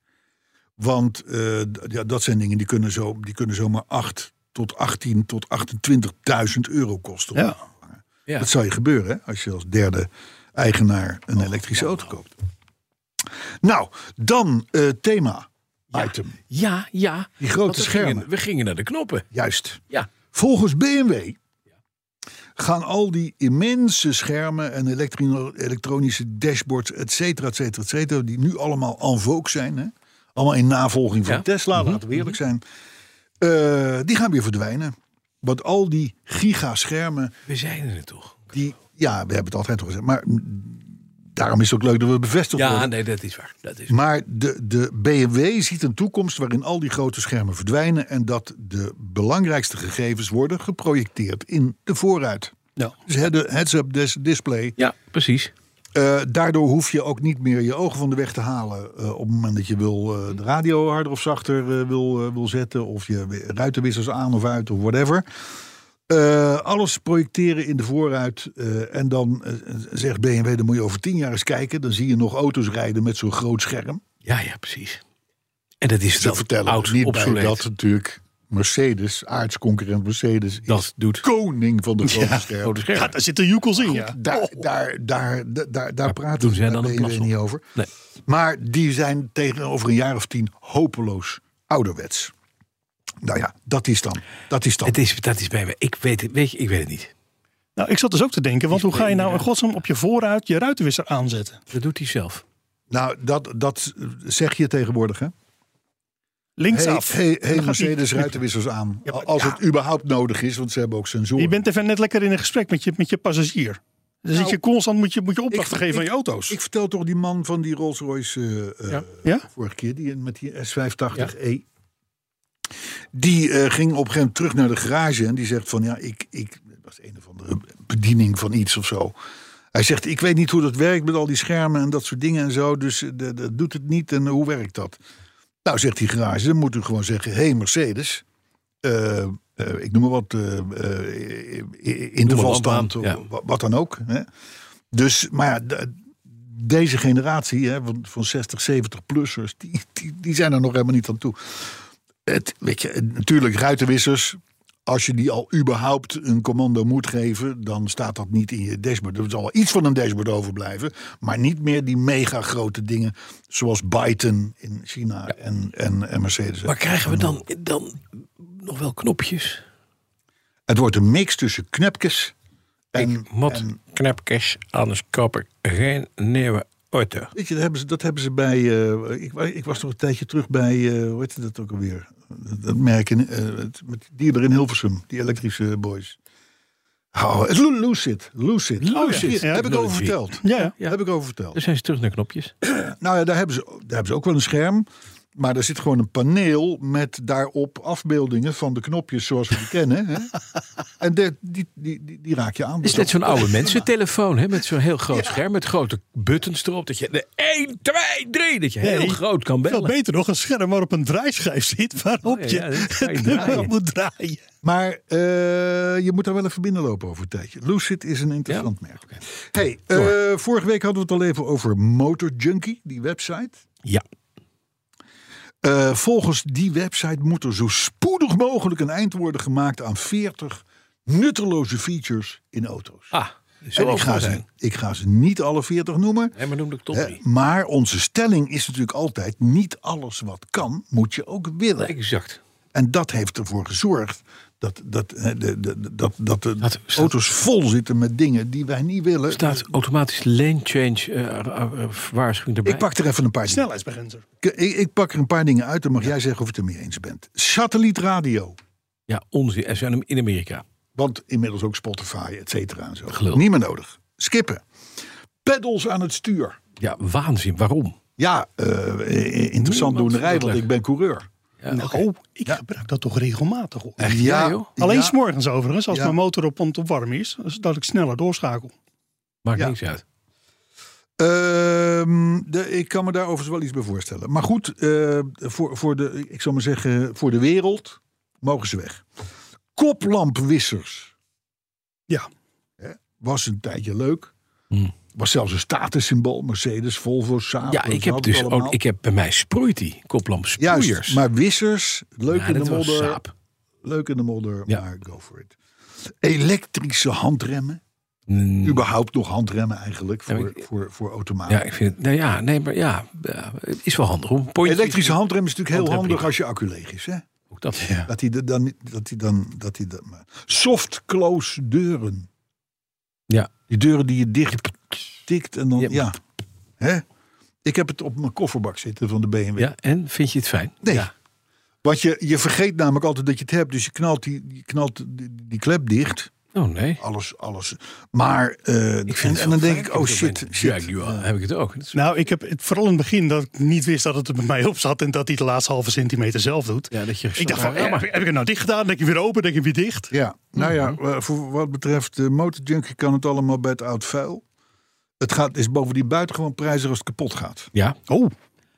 S2: Want eh, d- ja, dat zijn dingen die kunnen, zo, die kunnen zomaar 8 tot 18 tot 28.000 euro kosten. om
S8: Ja.
S2: te vervangen. Dat zou je gebeuren hè, als je als derde eigenaar een elektrische auto koopt. Nou, dan eh, thema. Item.
S3: Ja, ja.
S2: Die grote
S3: Want we gingen-
S2: schermen.
S3: we gingen naar de knoppen.
S2: Juist.
S3: Ja.
S2: Volgens BMW gaan al die immense schermen en elektri- elektronische dashboards, et cetera, et cetera, et cetera, die nu allemaal en vogue zijn, hè? allemaal in navolging van
S3: Ja. Mhm.
S2: Tesla, laten we eerlijk zijn, eh, die gaan weer verdwijnen. Want al die gigaschermen,
S3: We zijn er toch?
S2: die, ja, we hebben het altijd al gezegd, maar mm, daarom is het ook leuk dat we bevestigd
S3: Ja,
S2: worden.
S3: nee, dat is waar. Dat is
S2: Maar de, de BMW ziet een toekomst waarin al die grote schermen verdwijnen en dat de belangrijkste gegevens worden geprojecteerd in de vooruit.
S8: Ja.
S2: Dus head- heads-up dis- display.
S3: Ja, precies.
S2: Eh, daardoor hoef je ook niet meer je ogen van de weg te halen eh, op het moment dat je wil, eh, de radio harder of zachter eh, wil, eh, wil zetten of je ruitenwissers aan of uit of whatever. Eh, alles projecteren in de vooruit. eh, en dan eh, zegt BMW, dan moet je over tien jaar eens kijken. Dan zie je nog auto's rijden met zo'n groot scherm.
S3: Ja, ja, precies. En dat is
S2: Ze
S3: dan
S2: vertellen
S3: oud,
S2: er niet bij
S3: obsoleet.
S2: dat natuurlijk Mercedes, aardsconcurrent Mercedes,
S3: Dat
S2: is
S3: doet. Oh, dus-
S2: koning van de grote schermen.
S3: Grote schermen.
S8: Ja, daar zitten joekels in, ja. Oh.
S2: Daar, daar, daar, daar, daar, daar praten
S3: doen
S2: we
S3: zij
S2: bij
S3: dan een
S2: BMW
S3: plas op?
S2: niet over.
S3: Nee.
S2: Maar die zijn tegenover een jaar of tien hopeloos ouderwets. Nou ja, dat is dan. Dat is dan.
S3: Het is, dat is bij me. Ik weet het, weet je, ik weet het niet.
S8: Nou, ik zat dus ook te denken, want hoe ga je nou in godsnaam op je vooruit je ruitenwisser aanzetten?
S3: Dat doet hij zelf.
S2: Nou, dat, dat zeg je tegenwoordig, hè?
S8: Linksaf.
S2: Hey, hey,
S8: Dan gaat die-
S2: Mercedes ruitenwissers aan.
S8: Ja, maar-
S2: als het überhaupt nodig is, want ze hebben ook sensoren.
S8: Je bent even net lekker in een gesprek met je, met je passagier. Dan zit je constant, moet je, moet je opdrachten
S2: Nou, Ik-
S8: geven aan
S2: ik-
S8: je auto's.
S2: Ik vertel toch die man van die Rolls Royce eh, eh,
S8: ja?
S2: vorige keer, die met die S580E. Die eh, ging op een gegeven moment terug naar de garage en die zegt van ja, ik, ik het was een of andere bediening van iets of zo. Hij zegt, ik weet niet hoe dat werkt met al die schermen en dat soort dingen en zo, dus eh, dat dat doet het niet en eh, hoe werkt dat? Nou, zegt die garage, dan moet u gewoon zeggen, hey Mercedes, eh, eh, ik noem maar wat, eh eh, intervalstand,
S3: aan, ja.
S2: of wa- wat dan ook. Hè? Dus, maar ja, de- deze generatie hè, van, van 60, 70 plussers, die, die, die zijn er nog helemaal niet aan toe. Het, weet je, en natuurlijk, ruitenwissers. Als je die al überhaupt een commando moet geven, dan staat dat niet in je dashboard. Er zal wel iets van een dashboard overblijven, maar niet meer die mega grote dingen zoals Byton in China en, en, en Mercedes.
S3: Maar krijgen we dan, dan nog wel knopjes?
S2: Het wordt een mix tussen knepjes en,
S3: Mat,
S2: en-
S3: knapjes, anders koop ik geen nieuwe auto.
S2: Weet je, dat hebben ze, dat hebben ze bij. eh, ik, wa- ik was nog een tijdje terug bij. eh, hoe heette dat ook alweer? Dat, dat merk in, eh, het- met die er in Hilversum, die elektrische boys. Oh, het Lu- Lucid. Lucid.
S3: Lucid,
S2: Hier,
S3: ja,
S2: heb ik over
S3: technology.
S2: verteld.
S8: Ja, ja.
S3: Ja. Dus-
S2: Heb ik over verteld.
S3: Dan zijn ze terug naar knopjes.
S2: Nou ja, daar hebben ze, daar hebben ze ook wel een scherm. Maar er zit gewoon een paneel met daarop afbeeldingen van de knopjes zoals we die kennen.
S3: *laughs*
S2: Hè? En de- die, die, die, die raak je aan.
S3: Het is net zo'n
S2: *laughs*
S3: oude mensentelefoon, hè, met zo'n heel groot scherm, met grote buttons erop. Dat je de 1, 2, 3, dat je heel
S8: Nee,
S3: groot kan
S8: Veel
S3: bellen.
S8: beter nog, een scherm waarop een draaischijf zit waarop
S3: Oh ja,
S8: je *laughs*
S3: ja, dat kan je
S8: het nummer
S3: draaien.
S8: moet draaien.
S2: Maar eh, je moet daar wel even binnenlopen over een tijdje. Lucid is een interessant merk. Hey, eh, vorige week hadden we het al even over Motor Junkie, die website.
S3: Ja,
S2: Eh, volgens die website moet er zo spoedig mogelijk een eind worden gemaakt aan 40 nutteloze features in auto's.
S3: ah, zo
S2: en ik ga, ze,
S3: overal zijn.
S2: ik ga ze niet alle 40 noemen.
S3: Hè, maar noem ik toch
S2: hè,
S3: niet.
S2: maar onze stelling is natuurlijk altijd: niet alles wat kan, moet je ook willen.
S3: Exact.
S2: En dat heeft ervoor gezorgd dat, dat, eh, de- de- de- dat, dat de
S3: Staat- staat-
S2: auto's vol zitten met dingen die wij niet willen.
S3: Staat automatisch lane change eh, eh, eh, waarschuwing erbij.
S2: Ik pak er even een paar dingen.
S8: Snelheidsbegrenzer.
S2: Ik, ik pak er een paar dingen uit, dan mag jij zeggen of je het ermee eens bent. Satellietradio.
S3: Ja, onzin. Er zijn hem in Amerika.
S2: Want inmiddels ook Spotify, et cetera en zo.
S3: Gelul.
S2: Niet meer nodig. Skippen. Pedals aan het stuur.
S3: Ja, waanzin. Waarom?
S2: Ja, eh, interessant
S3: Niemand
S2: doenerij,
S3: vindt dat
S2: want
S3: leuk.
S2: ik ben coureur.
S3: Ja,
S8: nou,
S2: oh,
S3: oké.
S8: ik gebruik dat toch regelmatig. Hoor.
S2: ja,
S3: Ja, joh.
S8: Alleen
S2: ja.
S8: s'morgens overigens, als
S2: Ja.
S8: mijn motor op om te warm is, dat ik sneller doorschakel.
S3: Maakt
S2: Ja.
S3: niks uit.
S2: Ehm, de, ik kan me daar overigens wel iets bij voorstellen. Maar goed, eh, voor, voor, de, ik zal maar zeggen, voor de wereld mogen ze weg. Koplampwissers.
S8: Ja.
S2: Hè, was een tijdje leuk.
S3: Hm.
S2: Was zelfs een statussymbool. Mercedes, Volvo, Saab.
S3: Ja, ik heb dus ook, ik heb bij mij sproeit die koplamp sproeiers.
S2: Juist, maar wissers, leuk
S3: Ja,
S2: in de
S3: dat was
S2: modder.
S3: saap.
S2: Leuk in de modder,
S3: Ja.
S2: maar go for it. Elektrische handremmen.
S3: Mm,
S2: Überhaupt nog handremmen eigenlijk voor,
S3: Ja, maar ik-
S2: voor, voor automaten.
S3: Ja, ik vind het. Nou ja, nee, maar ja, ja, het is wel handig. Om pointjes-
S2: Elektrische handrem is natuurlijk heel
S3: Handrem
S2: handig
S3: prima.
S2: als je accu leeg is. Hè?
S3: Ook dat. Ja.
S2: Dat hij de- dan, dat hij dan, dat hij dat, maar- soft close deuren.
S3: Ja.
S2: Die deuren die je dicht tikt en dan,
S3: Ja.
S2: ja. Hè? Ik heb het op mijn kofferbak zitten van de BMW.
S3: en vind je het fijn?
S2: Nee.
S3: Ja.
S2: Want je, je vergeet namelijk altijd dat je het hebt. Dus je knalt die, je knalt die, die klep dicht.
S3: Oh nee.
S2: Alles, alles. Maar, eh,
S3: Ik
S2: en,
S3: vind het
S2: en dan
S3: wel
S2: denk
S3: fijn.
S2: ik, oh
S3: heb
S2: shit,
S3: mijn
S2: shit.
S3: Jaguar heb ik het ook. Dat is-
S8: Nou, ik heb het vooral in het begin dat ik niet wist dat het er bij mij op zat en dat hij de laatste halve centimeter zelf doet.
S3: ja, dat je
S8: ik dacht van, ja, maar heb ik het nou dicht gedaan? Denk je weer open, denk je weer dicht?
S2: Ja, nou ja,
S3: Mhm.
S2: eh, voor wat betreft de motorjunkie kan het allemaal bij het oud vuil. Het gaat, is bovendien buitengewoon prijzig als het kapot gaat.
S3: Ja.
S8: Oh,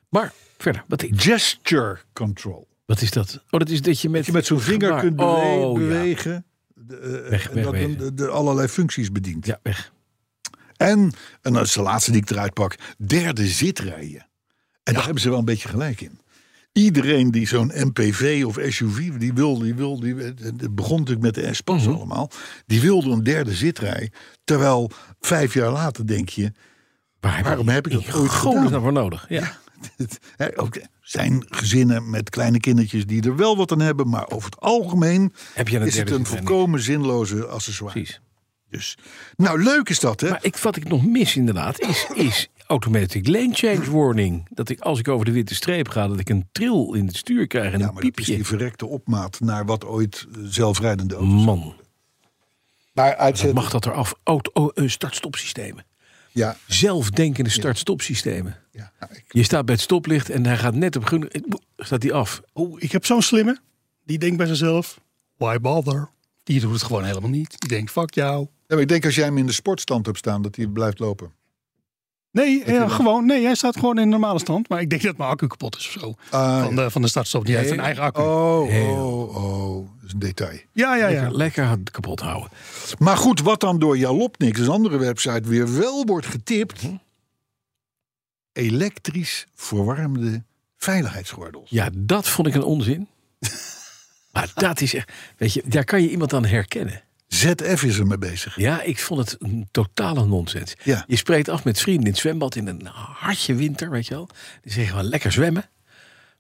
S3: Maar verder, wat,
S2: Gesture control.
S3: wat is dat? Oh, dat is dat je met,
S2: Dat je met zo'n vinger
S3: gebaar-
S2: kunt bewe-
S3: Oh, ja.
S2: bewegen. De, eh,
S3: Weg-
S2: en dat
S3: wegwezen.
S2: dan de, de allerlei functies bedient.
S3: Ja, weg.
S2: En, en dat is de laatste die ik eruit pak, derde zitrijden. En daar hebben ze wel een beetje gelijk in. Iedereen die zo'n MPV of SUV, die wil, die wil, die, het begon natuurlijk met de S-Pas
S3: Mhm.
S2: allemaal, die wilde een derde zitrij. Terwijl vijf jaar later denk je,
S3: Waar
S2: waarom heb ik dat ooit
S3: Gewoon is
S2: gedaan?
S3: daarvoor nodig. Ja.
S2: Het- hè, ook er zijn gezinnen met kleine kindertjes die er wel wat aan hebben, maar over het algemeen
S3: Heb je een
S2: is het
S3: derde
S2: een
S3: zitrij
S2: volkomen zinloze accessoire.
S3: Precies.
S2: Dus, nou, leuk is dat, hè?
S3: Maar ik, wat ik nog mis inderdaad is, is automatic lane change warning. Dat ik als ik over de witte streep ga, dat ik een tril in het stuur krijg en
S2: Ja,
S3: een
S2: maar dat is die
S3: piepje.
S2: verrekte opmaat naar wat ooit eh, zelfrijdende auto's.
S3: Man,
S2: Mm. Maar
S3: wat
S2: uitzet.
S3: mag dat eraf? Auto, eh, start-stopsystemen.
S2: Ja,
S3: Zelfdenkende start-stopsystemen.
S2: ja. Nou, ik-
S3: Je staat bij het stoplicht en hij gaat net op groen. eh, boe, Staat hij af.
S8: oh ik heb zo'n slimme. Die denkt bij zichzelf, why bother? Die doet het gewoon helemaal niet. Die denkt, fuck jou.
S2: Ja, maar ik denk als jij hem in de sportstand hebt staan, dat hij blijft lopen.
S8: Nee, ja, gewoon, nee, hij staat gewoon in een normale stand. Maar ik denk dat mijn accu kapot is of zo.
S2: Ah,
S8: van, de, van de startstop. Die heeft een eigen accu.
S2: oh,
S3: Heel.
S2: oh, oh. Dat is een detail.
S8: ja, ja, ja.
S3: Lekker, lekker hard kapot houden.
S2: Maar goed, wat dan door Jalopnik, een andere website, weer wel wordt getipt. Elektrisch verwarmde veiligheidsgordels.
S3: Ja, dat vond ik een
S8: *laughs*
S3: onzin. maar dat is echt. Weet je, daar kan je iemand aan herkennen.
S2: ZF is ermee bezig.
S3: Ja, ik vond het een totale nonsens.
S2: Ja.
S3: Je spreekt af met vrienden in het zwembad in een hartje winter, weet je wel. Die zeggen wel lekker zwemmen.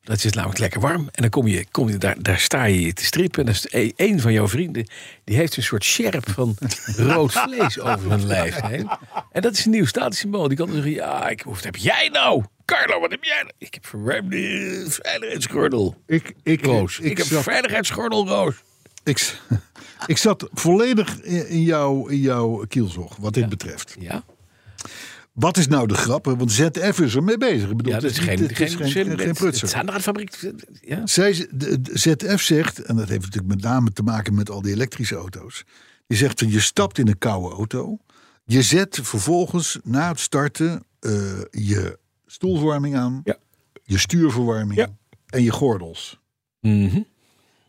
S3: Dat is namelijk lekker warm. En dan kom je, kom je daar, daar sta je je te strippen. En dan is e- een van jouw vrienden, die heeft een soort sjerp van *laughs* rood vlees over hun lijf heen. En dat is een nieuw statussymbool. Die kan dan zeggen, ja, ik, wat heb jij nou? Carlo, wat heb jij nou? Ik heb verwarmde veiligheidsgordel,
S2: Ik, ik,
S3: Roos. Ik,
S2: ik,
S3: heb
S2: zat,
S3: veiligheidsgordel, Roos.
S2: ik, *laughs* ik zat volledig in in jouw, in jouw kielzog, wat dit betreft.
S3: Ja,
S2: Wat is nou de grap? Want ZF is ermee bezig. Ik bedoel,
S3: Ja, dat
S2: het
S3: is
S2: niet-
S3: geen,
S2: het
S3: geen, geen,
S2: geen prutser.
S3: Het zijn naar de fabriek. Ja.
S2: Zij, de, de ZF zegt, en dat heeft natuurlijk met name te maken met al die elektrische auto's. Die zegt, van, je stapt in een koude auto. Je zet vervolgens na het starten eh, je stoelverwarming aan.
S3: Ja.
S2: Je stuurverwarming.
S3: Ja.
S2: En je gordels.
S3: Mhm.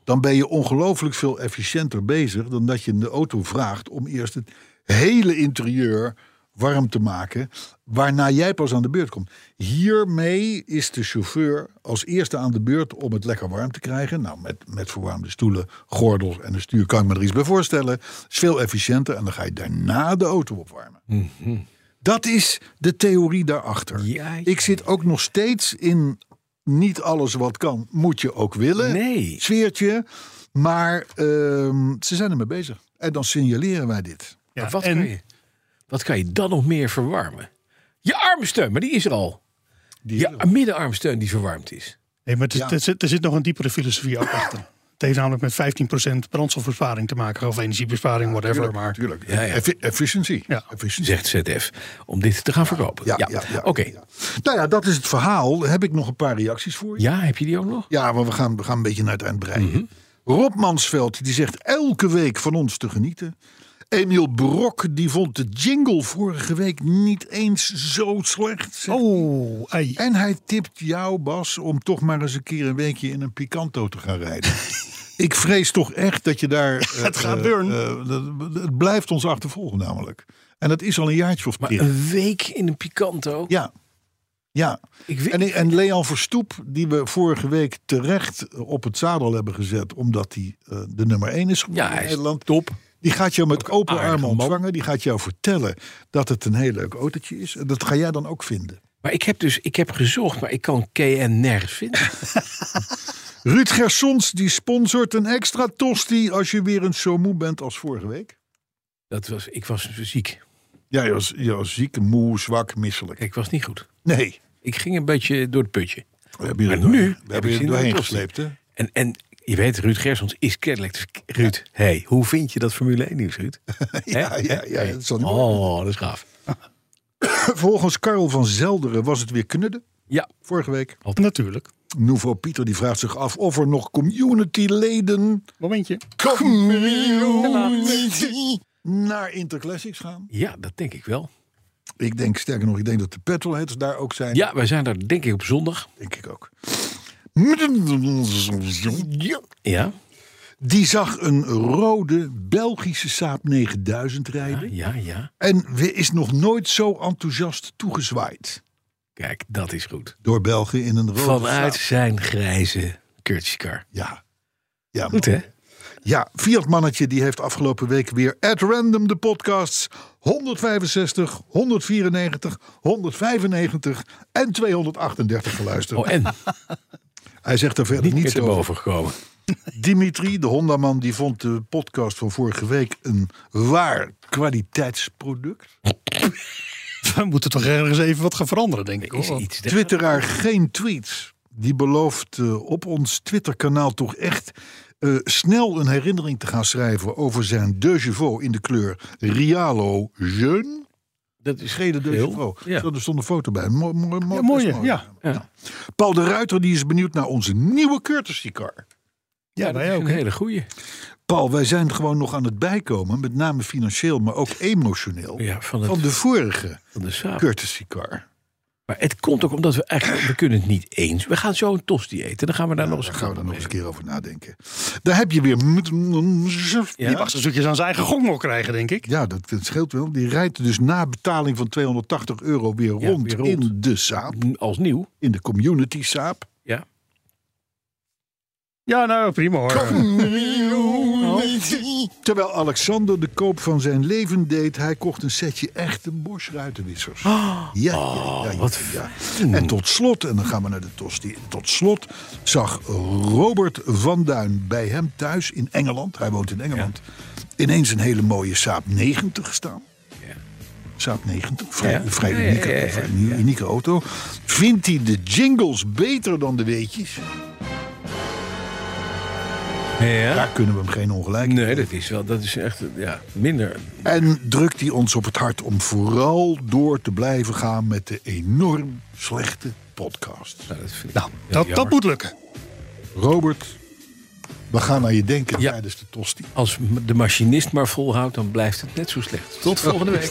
S2: Dan ben je ongelooflijk veel efficiënter bezig dan dat je de auto vraagt om eerst het hele interieur warm te maken. Waarna jij pas aan de beurt komt. Hiermee is de chauffeur als eerste aan de beurt om het lekker warm te krijgen. Nou, met, met verwarmde stoelen, gordels en een stuur kan ik me er iets bij voorstellen. Is veel efficiënter en dan ga je daarna de auto opwarmen. Dat is de theorie daarachter.
S3: Ja, ja.
S2: Ik zit ook nog steeds in niet alles wat kan, moet je ook willen.
S3: Nee.
S2: Sfeertje. Maar ehm, ze zijn ermee bezig. En dan signaleren wij dit.
S3: Maar wat,
S6: en-
S3: kan je, wat kan je dan nog meer verwarmen? Je armsteun, maar die is er al. je middenarmsteun die verwarmd is.
S6: Nee, maar het is-
S2: Ja.
S6: er, zit, er zit nog een diepere filosofie ook achter. Het heeft namelijk met 15% brandstofbesparing te maken. Of energiebesparing, whatever. maar
S2: Tuurlijk.
S3: Ja, ja.
S2: Effi- efficiency.
S6: Ja.
S2: Efficiency.
S3: Zegt ZF. Om dit te gaan verkopen.
S2: Ja, ja, ja,
S3: Oké.
S2: ja. Nou ja, dat is het verhaal. Heb ik nog een paar reacties voor je?
S3: Ja, heb je die ook nog?
S2: Ja, maar we gaan, we gaan een beetje naar het eind breien. Rob Mansveld, die zegt elke week van ons te genieten. Emiel Brok, die vond de jingle vorige week niet eens zo slecht. zegt
S6: Oh, ei.
S2: En hij tipt jou, Bas, om toch maar eens een keer een weekje in een Picanto te gaan rijden. Ik vrees toch echt dat je daar. eh, het
S6: gaat burn.
S2: het blijft ons achtervolgen, namelijk. En dat is al een jaartje of
S3: Maar
S2: keer.
S3: een week in een Picanto.
S2: Ja. Ja.
S3: Ik weet,
S2: En, en Leon Verstoep, die we vorige week terecht eh, op het zadel hebben gezet. omdat hij eh, de nummer 1 is geworden
S3: Ja, hij
S2: in
S3: is
S2: Nederland. Top. Die gaat jou met open
S3: aardige
S2: armen
S3: man.
S2: ontvangen. Die gaat jou vertellen dat het een heel leuk autootje is. En dat ga jij dan ook vinden.
S3: maar ik heb dus ik heb gezocht, maar ik kan KN nergens vinden.
S2: Ruud Gersons die sponsort een extra tosti als je weer eens zo moe bent als vorige week.
S3: Dat was, ik was ziek.
S2: Ja, je was, je was ziek, moe, zwak, misselijk.
S3: Ik was niet goed.
S2: Nee.
S3: Ik ging een beetje door het putje.
S2: We hebben je er
S3: Maar nu
S2: doorheen, we
S3: heb
S2: hebben
S3: ik
S2: je er
S3: zin in
S2: doorheen
S3: een tosti.
S2: gesleept, hè?
S3: En, en je weet, Ruud Gersons is kennelijk... de verk- Ruud, hey, hoe vind je dat Formule 1 nieuws, Ruud?
S2: *laughs* Ja, ja, ja, dat zal niet
S3: Oh, dat is gaaf.
S2: Volgens Karel van Zelderen was het weer knudden
S3: Ja,
S2: vorige week.
S6: natuurlijk.
S2: Nouveau Pieter die vraagt zich af of er nog community-leden
S6: Momentje.
S2: community naar Interclassics gaan.
S3: ja, dat denk ik wel.
S2: Ik denk, sterker nog, ik denk dat de petrolheads daar ook zijn.
S3: Ja, wij zijn daar denk ik op zondag.
S2: Denk ik ook.
S3: Ja,
S2: Die zag een rode Belgische Saab 9000 rijden.
S3: ja, ja.
S2: En we- is nog nooit zo enthousiast toegezwaaid
S3: Kijk, dat is goed.
S2: door België in een rode
S3: Vanuit
S2: Saab.
S3: zijn grijze Curtis car.
S2: Ja. Ja,
S3: Goed,
S2: *laughs*
S3: hè?
S2: ja, Fiat Mannetje die heeft afgelopen week weer at random de podcasts 165, 194, 195 en 238 geluisterd.
S3: Oh, en
S2: Hij zegt er verder
S3: *laughs* niet meer
S2: niets
S3: te
S2: over.
S3: boven
S2: Oh.
S3: gekomen.
S2: Dimitri, de Hondaman, die vond de podcast van vorige week een waar kwaliteitsproduct.
S6: We moeten toch ergens even wat gaan veranderen, denk ik.
S3: Is
S6: hoor.
S3: iets. dat-
S2: Twitteraar geen tweets. Die belooft eh, op ons Twitterkanaal toch echt eh, snel een herinnering te gaan schrijven over zijn Deugevo in de kleur Rialo Jeune.
S3: Dat is
S2: Gele Deugevo.
S3: heel- Ja.
S2: dus Zo, Er stond een foto bij. Mooi, mooi, mooi,
S6: Ja, mooie,
S2: mooi.
S6: ja.
S2: Paul de Ruiter die is benieuwd naar onze nieuwe courtesy car.
S6: Ja,
S3: dat
S6: wij
S3: is
S6: ook.
S3: een
S6: hè.
S3: hele goeie.
S2: Paul, wij zijn gewoon nog aan het bijkomen, met name financieel, maar ook emotioneel.
S3: Ja, van, het,
S2: Van de vorige
S3: van de Saab.
S2: courtesy car.
S3: Maar het komt ook omdat we eigenlijk... We kunnen het niet eens. We gaan zo een tosti eten. Dan gaan we daar nog eens
S2: Daar gaan we
S3: een
S2: dan nog
S3: kap
S2: eens een
S3: op
S2: keer over nadenken. Daar heb je weer.
S3: Ja.
S6: Die mag zijn zoetjes aan zijn eigen gongel krijgen, denk ik.
S2: Ja, dat, dat scheelt wel. Die rijdt dus na betaling van 280 euro weer
S3: Ja,
S2: rond,
S3: weer rond.
S2: in de Saap.
S3: eten. Als nieuw.
S2: In de community Saap.
S3: Ja.
S6: Ja, nou, prima hoor.
S3: Oh.
S2: Terwijl Alexander de koop van zijn leven deed, hij kocht een setje echte Bosch ruitenwissers. ja, ja, ja, ja,
S3: Oh. wat
S2: ja. En tot slot, en dan gaan we naar de tosti. Tot slot zag Robert van Duin bij hem thuis in Engeland, hij woont in Engeland, ineens een hele mooie Saab 90 staan.
S3: Ja.
S2: Saab 90, vrij,
S3: Ja.
S2: vrij
S3: Ja, ja,
S2: unieke,
S3: ja, ja, ja.
S2: vrij unieke auto. Vindt hij de jingles beter dan de weetjes?
S9: Ja.
S2: Daar kunnen we hem geen ongelijk in
S9: Nee,
S2: geven.
S9: dat is wel, dat is echt eh, ja, minder. Nou,
S2: En drukt hij ons op het hart om vooral door te blijven gaan met de enorm slechte podcast.
S9: Nou, dat vind ik
S6: Nou,
S9: heel
S6: dat,
S9: jammer.
S6: dat moet lukken.
S2: Robert, we gaan aan je denken
S9: Ja.
S2: tijdens de tosti.
S9: Als m- de machinist maar volhoudt, dan blijft het net zo slecht. Tot volgende week.